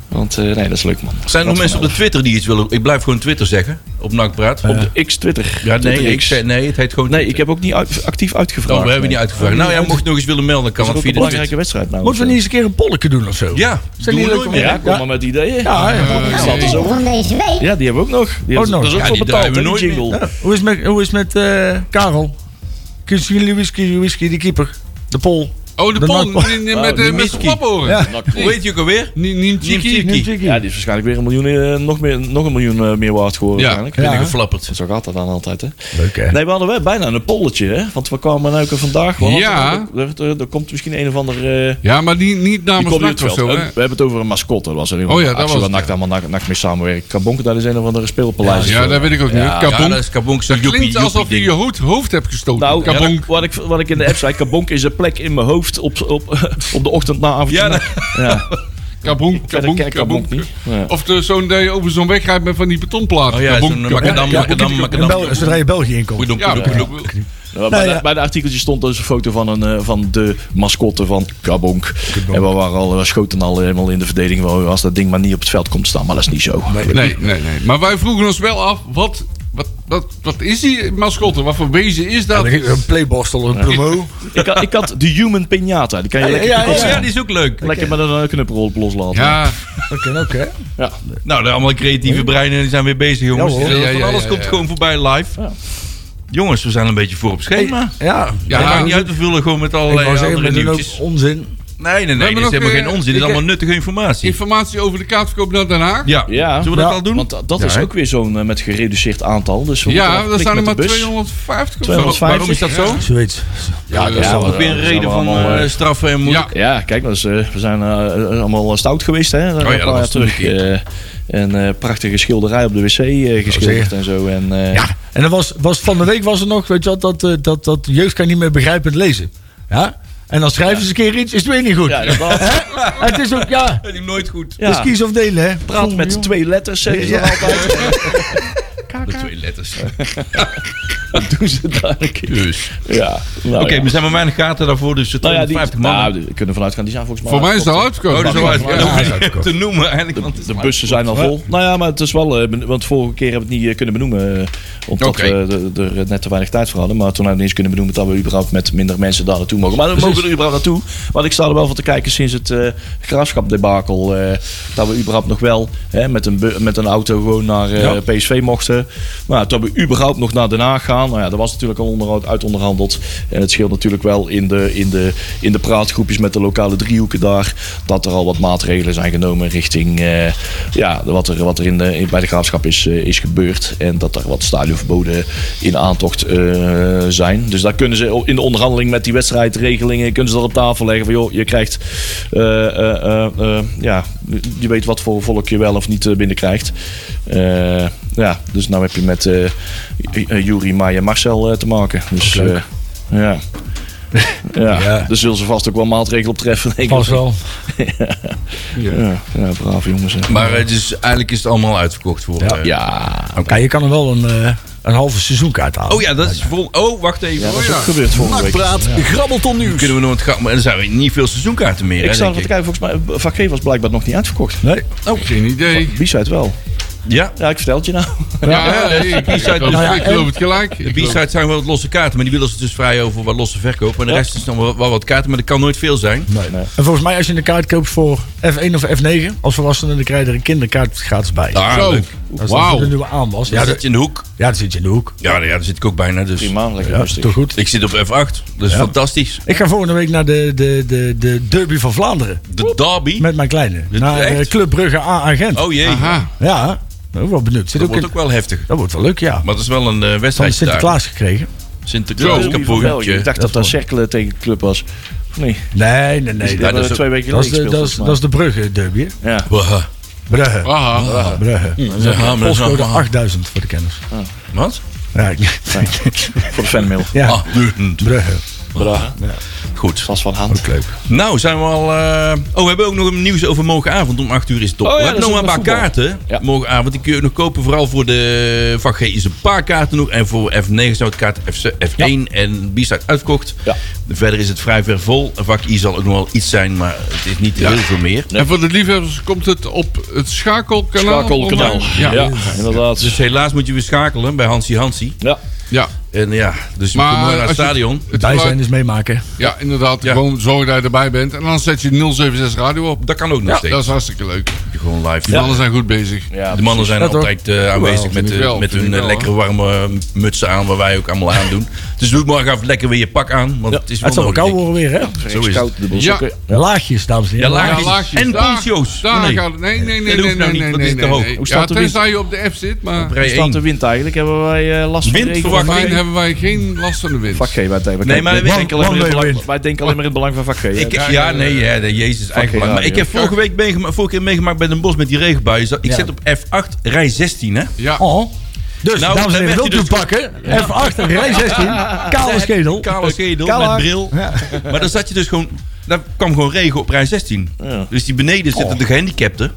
E: Want eh, nee, dat is leuk man.
D: Zijn er nog
E: Rad
D: mensen op
E: van
D: de Twitter die iets willen? Ik blijf gewoon Twitter zeggen. Op Nakpraat.
E: Elf. Op de X Twitter.
D: Ja, nee,
E: Twitter
D: ik
E: X.
D: zei, nee, het heet gewoon
E: Nee, ik heb ook niet uit- actief uitgevraagd.
D: Oh, we hebben
E: nee.
D: niet uitgevraagd. Nou ja, mocht je nog eens willen melden, kan
E: Dat
D: dat
E: is ook
D: via
E: een
D: de Twitter.
E: belangrijke wedstrijd nou.
C: Moeten we niet eens een keer een polletje doen of zo?
D: Ja,
C: Zijn
D: doen
C: die
D: we
C: leuk
D: nooit
C: om-
D: meer.
E: Ja, kom
C: Ja.
E: maar met ideeën.
C: Ja, ja.
B: Eh,
E: dat is ook.
G: van deze week.
E: Ja, die hebben we ook nog. Die
C: Ook
E: hebben-
C: nog.
E: Dat is ook
D: Ja,
E: wel
D: die
E: betaald, hè,
D: draaien we
E: die
D: nooit
E: jingle.
C: Ja. Hoe is het met, hoe is het met eh, Karel? Kunnen jullie whisky, whisky, die keeper? De pol.
B: Oh, de
C: De
B: pol
C: nakpol.
B: met, met,
D: die
B: eh, met
D: miskie.
B: klaporen.
C: Ja.
D: Hoe heet je ook alweer?
B: Ni- Nimchiki.
D: Nimchiki.
E: Ja, die is waarschijnlijk weer een miljoen, eh, nog, meer, nog een miljoen eh, meer waard geworden
B: Ja.
E: waarschijnlijk.
C: Ja.
D: Geflapperd.
E: Zo gaat dat dan altijd, hè?
C: Leuk,
B: Eh.
C: hè?
E: Nee, we hadden wel bijna een polletje, hè? Want we kwamen nou ook vandaag. we hadden-
B: Ja.
E: Er, er- er komt misschien een of ander. eh
B: Ja, maar die, niet
E: die
B: namens
E: komt niet
B: NAC of
E: op het
B: zo,
E: veld.
B: hè?
E: Eh, We hebben het over een mascotte. Dat was er
B: Oh
E: iemand
B: ja,
E: een
B: dat
E: actie
B: was
E: waar
B: het,
E: NAC
B: ja.
E: allemaal NAC, NAC mee samenwerkt. Kabonken, daar is een of andere speelpaleis.
B: Ja, dat weet ik ook niet.
D: Ah, Ja, dat
B: Kabonk.
D: is Kabonk.
B: Dat klinkt alsof je je
D: je...
B: hoofd, hoofd hebt gestoten.
E: Nou, ja,
B: Kabonk.
E: wat, ik, wat ik in de app zei, Kabonk is een plek in mijn hoofd op, op, (laughs) op de ochtend na avond.
D: Ja, dat-
E: ja.
B: Kabonk,
E: Verder
B: kabonk,
E: ken ik
B: kabonk.
E: Kabonk niet. Ja.
B: Of de- zo'n dat je over zo'n weg rijdt met van die betonplaten.
D: Oh ja,
B: Kabonk,
D: zo'n
B: kabonk.
D: makadam,
B: Ja,
D: makadam,
B: kabonk.
D: makadam.
C: En Bel- zodra je België inkomt.
D: Goeie dom,
B: Ja,
D: goeie dom, goeie dom.
B: kabonk.
E: Nou, bij,
C: Nou,
E: de-
C: ja.
E: bij de artikeltje stond dus een foto van, een, eh, van de mascotte van Kabonk. En we, waren al, we schoten al helemaal in de verdediging. wel, Als dat ding maar niet op het veld komt staan. Maar dat is niet zo.
B: Nee, nee, nee. Maar wij vroegen ons wel af, wat, wat, wat, wat is die mascotte? Wat voor wezen is dat?
C: dan ging er een playborstel, een promo.
E: ik, had, ik had de Human Pinata. Die kan je
C: Ja,
E: lekker,
C: ja, ja,
D: Oh,
C: ja.
D: ja, die is ook leuk.
E: lekker met een eh, knuppel op loslaten.
B: Ja,
C: (laughs) Dat kan ook, hè?
E: Ja.
D: Nou, de allemaal creatieve breinen die zijn weer bezig, jongens.
C: Ja, hoor.
D: Van
B: Ja, ja,
D: alles
B: ja,
D: komt
B: ja.
D: gewoon voorbij live.
E: Ja.
D: Jongens, we zijn een beetje voor op schema.
C: Ja.
B: Ja,
D: Ja,
B: maar
D: maakt niet
B: we
D: uit, we vullen gewoon met
C: Ik
D: allerlei
C: wou zeggen,
D: andere
C: maar dat
D: nieuwtjes.
C: is ook onzin.
D: Nee,
B: We
D: nee, nee,
B: hebben
D: dit is
B: nog,
D: helemaal
B: eh,
D: geen onzin. Dit
B: ik-
D: is allemaal nuttige informatie.
B: informatie over de kaartverkoop naar Den Haag.
D: Ja,
E: Ja.
D: zullen we dat
C: Ja.
D: al doen?
E: Want dat, dat is
B: Ja, hè?
E: ook weer zo'n eh, met gereduceerd aantal. Dus we moeten
B: Ja,
E: wel
B: er staan er
E: flink
B: maar
E: met de bus.
B: 250 of zo.
E: 250.
D: Waarom is dat zo?
C: Zoiets.
B: Ja,
E: dat is wel
D: Ook weer een
E: dat is
D: reden van
E: allemaal,
D: eh,
E: eh,
D: straffen en moeilijk.
E: Ja, kijk, dat is, eh, we zijn eh, eh, allemaal stout geweest, hè? een
D: dat
E: paar jaar
D: was toen
E: terug.
D: een
E: eh, en eh, prachtige schilderij op de wc eh, geschilderd
C: zeker.
E: en zo. En, eh,
C: Ja, en dat was, was van de week was er nog, weet je wat, dat, eh, dat, dat jeugd kan niet meer begrijpend lezen. Ja? En dan schrijven ze een keer iets, is het weer niet goed.
E: ja, inderdaad.
C: Het is ook, ja,
D: Dat is nooit goed.
E: Ja.
C: dus kies of delen, hè.
E: Praat met twee letters, zeggen ze dan altijd.
D: De twee letters.
E: Dat doen ze daar een keer.
D: Dus.
E: Ja, nou
D: Oké,
E: ja.
D: we zijn maar weinig kaarten daarvoor, dus de
E: Nou ja, die,
D: 250 man.
E: nou, die- we kunnen vanuit gaan, die zijn volgens mij...
B: Voor mij is dat uitgekomen.
D: Oh, dat is
B: Ja.
D: wel uit.
B: Ja.
D: dat hoef je niet te noemen eigenlijk. Want het
E: De
D: is
E: bussen zijn al vol. Nou ja, maar het is wel... eh, ben- want vorige keer hebben we het niet eh, kunnen benoemen. eh, omdat
D: Oké.
E: we de- de- er net te weinig tijd voor hadden. Maar toen hebben we eens kunnen benoemen dat we überhaupt met minder mensen daar naartoe mogen. Maar we mogen er überhaupt naartoe. Want ik sta er wel van te kijken sinds het eh graafschapdebakel. eh, dat we überhaupt nog wel hè, met, een bu- met een auto gewoon naar eh, PSV mochten. Maar dat we überhaupt nog naar Den Haag gaan. Nou ja, dat was natuurlijk al onder, uit onderhandeld. En het scheelt natuurlijk wel in de, in, de, in de praatgroepjes met de lokale driehoeken daar. Dat er al wat maatregelen zijn genomen richting eh, ja, wat er, wat er in de, in- bij de graafschap is, eh, is gebeurd. En dat er wat stadionverboden in aantocht eh, zijn. Dus daar kunnen ze in de onderhandeling met die wedstrijdregelingen kunnen ze dat op tafel leggen. Van joh, je krijgt, eh, eh, eh, eh, ja, je weet wat voor volk je wel of niet eh, binnenkrijgt. Eh, ja, dus nou heb je met eh eh, Juri, Maya en Marcel eh, te maken. Dus eh, ja. ja.
C: Ja.
E: dus zullen ze vast ook wel maatregelen op treffen. denk ik.
C: Pas wel.
E: Ja, ja, braaf jongens. hè.
D: Maar het is, eigenlijk is het allemaal uitverkocht voor. eh,
E: ja,
C: Ja, Nou, je kan er wel een, eh, een halve seizoenkaart halen.
D: Oh ja, dat is vol. Oh, wacht even.
E: ja, dat
D: Oh,
E: is
D: ja.
E: ook gebeurd vorige week.
A: Nakpraat, grabbelton nieuws.
D: Kunnen we nog wat gaan. Maar er zijn niet veel seizoenkaarten meer.
E: Ik
D: hè,
E: sta
D: denk
E: ervan te kijken, volgens mij, Van G was blijkbaar nog niet uitverkocht.
C: Nee.
B: Oh, geen idee.
E: B-side wel.
D: Ja.
E: Ja, ik vertel het je nou.
B: Ja, nee, ik,
D: B-side
B: geloof-
D: dus-
B: ik geloof het gelijk. Ik
D: De
B: geloof-
D: B-side zijn wel wat losse kaarten, maar die willen ze dus vrij over wat losse verkoop. En de
E: Ja.
D: rest is dan wel, wel wat kaarten, maar dat kan nooit veel zijn.
C: En volgens mij als je een kaart koopt voor F1 of F9, als volwassene, dan krijg je er een kinderkaart gratis bij.
D: Ah,
B: Zo.
D: leuk.
C: Dat is dan
B: Wauw.
C: voor de nieuwe aanwas. Dus
D: Ja,
C: Ja,
D: zit
C: dat,
D: je in de hoek.
C: ja, dat zit je in de hoek.
D: Ja, ja, daar zit ik ook bijna. Dus.
E: Prima, lekker
C: Ja,
E: rustig.
C: toch goed.
D: Ik zit op F8. Dat is fantastisch.
C: Ik ga volgende week naar de, de, de, de derby van Vlaanderen.
D: De derby.
C: Met mijn kleine.
D: Dit-
C: Naar eh,
D: echt?
C: Club Brugge A-agent.
D: Oh jee.
B: Aha.
C: Ja, ben ook wel benieuwd. Zit
D: Dat
C: ook
D: wordt
C: in-
D: ook wel heftig.
C: dat wordt wel leuk, ja.
D: Maar het is wel een eh,
C: Van
D: wedstrijd.
C: Sinterklaas gekregen.
D: daar. Sinterklaas
E: Derby van België. Ik
D: kapoentje.
E: dacht dat dat cirkelen tegen de club was. Of niet?
C: Nee, nee, nee.
E: Die
C: Dat,
E: hebben
D: is ook-
E: twee weken
C: dat is,
E: geleden
C: de, dat, is,
E: gespeeld.
C: dat is de Brugge derby. hè?
E: volgens mij. Ja.
D: Waha.
C: Brugge. Ah,
B: Aha.
C: Brugge.
D: Ah, Ja, maar dat is
C: Postcode
D: wel-
C: 8000 voor de kenners.
D: Wat?
C: Ja, ik- (laughs)
E: Voor de fanmail.
C: ja.
D: Ah, duh.
C: Brugge.
E: Bra.
D: Goed.
E: Vast van hand.
C: Leuk.
D: Nou, zijn we al. eh, Oh, we hebben ook nog een nieuws over morgenavond. Om 8 uur is het top.
E: Oh ja,
D: we
E: dat
D: hebben
E: is
D: nog maar
E: ook
D: een
E: met
D: paar
E: voetbal.
D: kaarten.
E: Ja.
D: Morgenavond. Die kun je nog kopen. Vooral voor de. Van G is een paar kaarten nog. En voor F9 zou het kaart F- F1 en B-side uitverkocht.
E: Ja.
D: Verder is het vrij ver vol. Vak I zal ook nog wel iets zijn. Maar het is niet heel veel meer.
B: En voor de liefhebbers komt het op het schakelkanaal.
E: Schakelkanaal.
B: online.
E: Ja.
B: Ja. ja.
E: inderdaad.
D: Dus helaas moet je weer schakelen bij Hansi Hansi.
E: Ja.
D: En ja, dus je
B: Maar
D: moet morgen naar
B: als
D: het
B: je-
D: stadion.
B: Het
C: Bij zijn
B: geluid-
C: is meemaken.
B: Ja, inderdaad.
D: Ja.
B: Gewoon zorg dat je erbij bent. En dan zet je 076 radio op.
D: Dat kan ook nog
B: Ja,
D: steeds.
B: dat is hartstikke leuk.
D: Gewoon live.
B: Die mannen zijn goed bezig.
E: ja.
D: De mannen zijn
C: Dat ook.
D: altijd eh, aanwezig
B: vind
D: met,
B: ik
D: eh,
B: wel,
D: met
B: vind
D: hun
B: ik
D: eh,
B: wel,
D: lekkere warme eh, mutsen aan, waar wij ook allemaal aan doen. Dus doe morgen even lekker weer je pak aan, want het is wel
C: Het zal wel
D: nodig,
C: koud
D: denk
C: worden weer, hè?
D: ik.
E: Zo is
D: Zo is
E: koud,
D: het.
E: de boel
B: Ja.
E: sokken.
C: Ja, Laagjes, dames en
D: Ja,
C: heren.
D: laag-
B: Ja,
D: Laagjes.
B: laagjes.
D: En
B: Daar-
D: poncho's.
B: Daar
D: Nee.
B: gaat het. Nee, nee, nee,
D: Dat
B: nee,
D: hoeft nou
B: nee,
D: niet,
B: nee,
D: want
B: nee,
D: dit is te hoog.
B: nee.
E: Hoe
B: Ja,
E: staat de wind?
B: tenzij je op de F zit, maar
D: Rij
E: Hoe staat de
D: één.
E: wind eigenlijk? Hebben wij eh, last van
D: Wind
E: regen?
D: verwacht
B: Alleen
D: Oké.
B: hebben wij geen last van de wind.
E: Vak G, wij denken
D: Nee, maar
E: wij
D: wind-
E: denken alleen maar in het
C: one-way
E: belang-
C: wind.
E: wij denken alleen maar in het belang van Vak G. hè?
D: Ik,
B: Ja,
D: ja,
B: ja,
D: nee, ja, de Jezus, eigenlijk.
E: geen
D: belangrijk. Maar
E: radio.
D: ik heb vorige week meegema- vorige keer meegemaakt met een bos met die regenbuien. Zat- Ik
C: Ja.
D: zit op F8, rij 16, hè?
B: Ja.
C: Oh. Dus,
D: Nou,
C: dames en
D: dan
C: heren,
D: werd
C: wilt
D: hij
C: u
D: dus-
C: pakken? F8, rij 16, kale schedel.
D: Kale schedel,
C: Kale-
D: met bril. Maar daar zat je dus gewoon... Daar kwam gewoon regen op rij 16. Dus die beneden zitten de gehandicapten.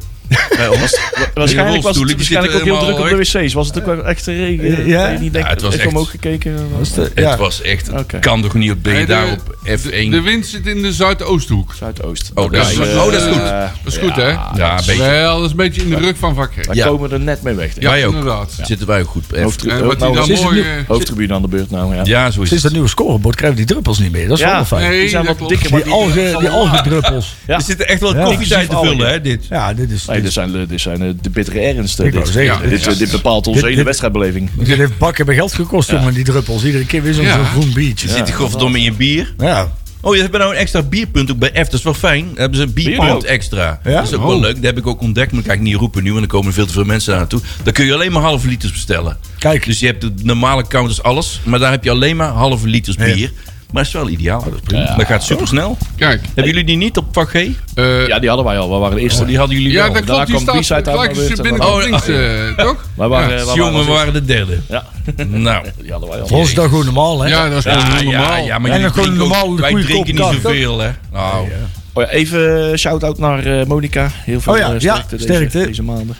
D: bij ons.
E: Waarschijnlijk was
D: rolstoelen,
E: het,
D: die
E: waarschijnlijk ook
D: zitten
E: heel druk op de
D: helemaal
E: wc's. Was het ook wel echt regen?
C: Ja?
E: Dat je niet denkt,
D: Ja, het was
E: ik heb
D: echt-
E: omhoog gekeken. eh, Was het
D: Het
C: Ja.
D: was echt, het
E: Oké.
D: kan toch niet op, ben je
B: Nee, de-
D: daar op F1?
B: De, de wind zit in de Zuidoosthoek.
E: Zuidoost.
D: Oh, dat is-
B: oh, dat is goed. Dat is goed, hè?
D: ja, een beetje.
B: Wel, dat is een beetje in de rug van vakken.
E: Daar
D: Ja.
E: komen we er net mee weg. denk ik.
D: Wij ook.
B: inderdaad.
D: Zitten wij ook goed op F1?
E: Hoofdtribune,
B: En Eh, wat hij
E: nou,
B: dan
E: is het
B: mooi...
E: nu-
B: eh,
E: hoofdtribune aan de beurt nou, ja.
D: Ja, zo is
C: Sinds
D: het.
C: dat nieuwe scorebord krijgen die druppels niet meer. Dat is
E: Ja.
C: wel wel fijn.
B: Nee,
E: Die zijn
B: dat
E: wat
B: klopt.
E: dikker, maar
C: Die algen, die algendruppels.
E: Ja.
D: Er zitten echt wel
C: Ja.
D: koffietijd te vullen, hè, dit.
C: Ja, dit is...
E: Nee,
C: dit
E: dit zijn, eh, dit zijn eh, de bittere ernsten.
C: Ik wou
E: Dit,
C: zeggen,
B: Ja.
C: dit,
E: dit, eh, dit bepaalt onze
C: Dit-
E: hele
C: dit-
E: wedstrijdbeleving.
C: dit heeft bakken bij geld gekost, jongen, die druppels. Iedere keer weer zo'n
B: Ja.
C: zo'n groen biertje.
D: Zit die godverdomme in je bier?
C: Ja.
D: Oh, je hebt nou een extra bierpunt ook bij F. Dat is wel fijn. Dan hebben ze een bierpunt
E: ook.
D: extra.
C: Ja?
D: Dat is ook wel
B: Oh.
D: leuk. Dat heb ik ook ontdekt. Maar dat kan ik niet roepen nu, want er komen veel te veel mensen daar naartoe. Dan kun je alleen maar halve liters bestellen.
C: Kijk.
D: Dus je hebt de normale counters alles. Maar daar heb je alleen maar halve liters bier. Maar dat is wel ideaal. Dat, is prima. dat gaat supersnel.
B: Kijk,
D: Hebben jullie die niet op vak G?
B: eh,
E: Ja, die hadden wij al. We waren de eerste.
D: Oh, die hadden jullie
B: ja,
D: wel.
B: dat
E: daarna
B: klopt. Die
E: kwam
B: staat
E: B-side uit
B: gelijk
E: naar
B: als je
E: buiten.
B: binnenkant
D: Oh,
B: links, eh, toch?
E: Wij waren,
B: Ja.
E: eh, wij
D: Jongen, we
E: waren,
D: waren de derde.
E: Ja.
D: Nou.
E: die hadden wij al.
C: Voor ons is dat gewoon normaal, hè?
B: Ja, dat is
D: Ja,
B: gewoon
D: ja,
B: normaal.
D: ja, maar
C: En
D: jullie
C: dan gewoon
D: drinken ook-
C: normaal de
D: wij
C: koeien
D: drinken
C: kopen,
D: niet
C: toch?
D: zoveel, hè? Nou,
E: Oh ja, even eh, shout-out naar eh, Monica. Heel veel
C: Oh ja,
E: eh,
C: ja,
E: sterkte, deze-
C: sterkte.
E: Deze, maanden.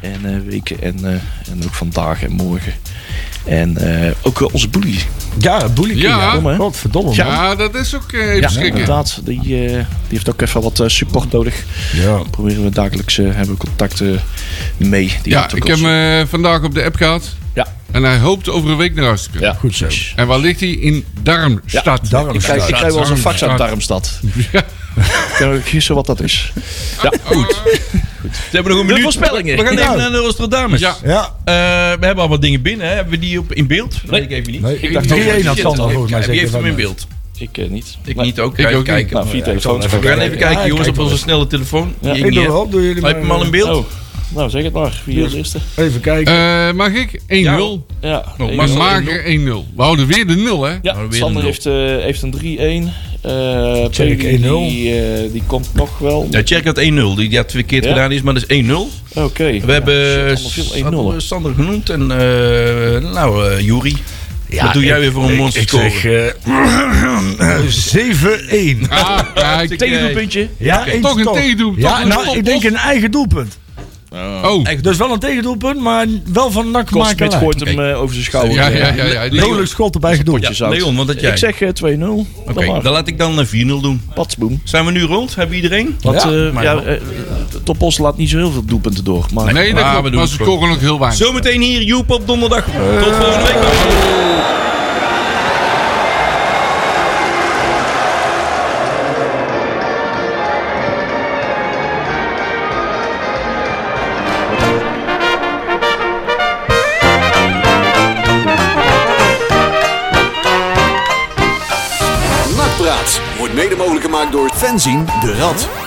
E: En eh, weken en, eh, en ook vandaag en morgen. En eh, ook eh, onze boelie.
C: Ja, boelie.
B: Ja.
E: Kom, hè?
C: Godverdomme. man.
B: Ja, dat is ook eh, even
E: Ja,
B: schrikken.
E: inderdaad. Die, eh, die heeft ook even wat eh, support nodig.
C: Ja.
E: Proberen we dagelijks, eh, hebben we contact eh, mee. Die
B: Ja,
E: heeft ook
B: ik heb
E: ons-
B: hem eh, vandaag op de app gehad.
E: Ja.
B: En hij hoopt over een week naar huis te kunnen.
E: ja.
C: Goed zo.
B: En waar ligt hij? In Darmstad.
C: Ja, Darmstadt.
E: Ik krijg, ik krijg wel eens een fax uit
B: Darmstadt.
E: Darmstad. Ik kan ook gissen wat dat is.
B: Goed.
D: Ze hebben nog een
E: De
D: minuut.
E: voorspellingen.
D: We gaan even
C: Nou.
D: naar de Nostradamus.
B: Ja.
C: Ja.
D: Eh, we hebben allemaal dingen binnen. Hè? Hebben we die op, in beeld? Dat weet ik even niet.
C: Nee,
B: Ik dacht
C: 3-1 had
D: Shit,
C: Sander
D: ik-
C: volgens mij
D: ja, Wie
C: zeker.
D: heeft hem
C: van-
D: in beeld?
E: Ik eh, niet.
D: Ik
E: Nee.
D: niet ook.
B: Ik
D: Ga even
B: ook niet.
D: kijken.
E: Nou, vier telefoons.
C: zal
D: we
C: even
D: gaan even kijken,
C: Ja,
D: jongens,
C: kijk
D: op onze
C: wel.
D: snelle telefoon. Die
C: Ik doe
D: hier.
C: wel, doe jullie eh,
D: Heb je hem al in beeld?
E: Oh, nou zeg het maar. Wie is de eerste?
C: Even kijken.
B: Eh, mag ik? 1-0.
E: Ja.
D: Oh,
E: Ik-
B: Maar
D: Marcel,
B: mager 1-0. We houden weer de 0, hè?
E: Ja,
D: Maar weer
E: Sander
D: een
E: heeft, eh, heeft een 3-1. Eh
C: Check,
E: Peli,
C: 1-0.
E: Die, eh, die komt nog wel.
D: Ja, check had 1-0. Die, die had twee keer
E: Ja.
D: gedaan is, maar dat is 1-0. We
E: Oké. We
D: hebben
E: Shit,
D: Sander-
E: allemaal veel 1-0.
D: Sander genoemd en eh nou, eh Juri. Wat doe jij weer voor een monster
C: Ik zeg (clears throat) eh, 7-1.
B: Ah, kijk.
D: eh,
E: Tegendoelpuntje.
C: Ja, één
B: Toch een
C: toch.
B: tegendoelpunt,
C: Ja,
B: toch een
C: nou,
B: top-
C: ik denk een eigen doelpunt.
B: Oh,
C: Dus wel een tegendoelpunt, maar wel van NAC maken.
E: Kostmit
C: lijn.
E: gooit hem eh, over zijn schouder.
B: ja, ja, ja. ja. Die-
C: Dodelijk schot op eigen doelpunt.
E: Zout.
D: Leon, wat had jij?
E: Ik zeg eh, 2-0.
D: Oké, dan laat ik dan een 4-0 doen.
E: Patsboom.
D: Zijn we nu rond? Hebben we iedereen?
E: Want
C: Ja,
E: eh,
D: maar
E: ja,
D: wel.
E: eh, de Topos laat niet zo heel veel doelpunten door. Maar
B: Nee, dat
D: Ah, we
B: klopt.
D: doen
B: Maar
D: het
B: ze
D: gewoon.
B: scoren ook heel weinig.
D: Zometeen hier, Joep op donderdag. Tot volgende week.
A: Nakpraat wordt mede mogelijk gemaakt door Fenzin de Rad.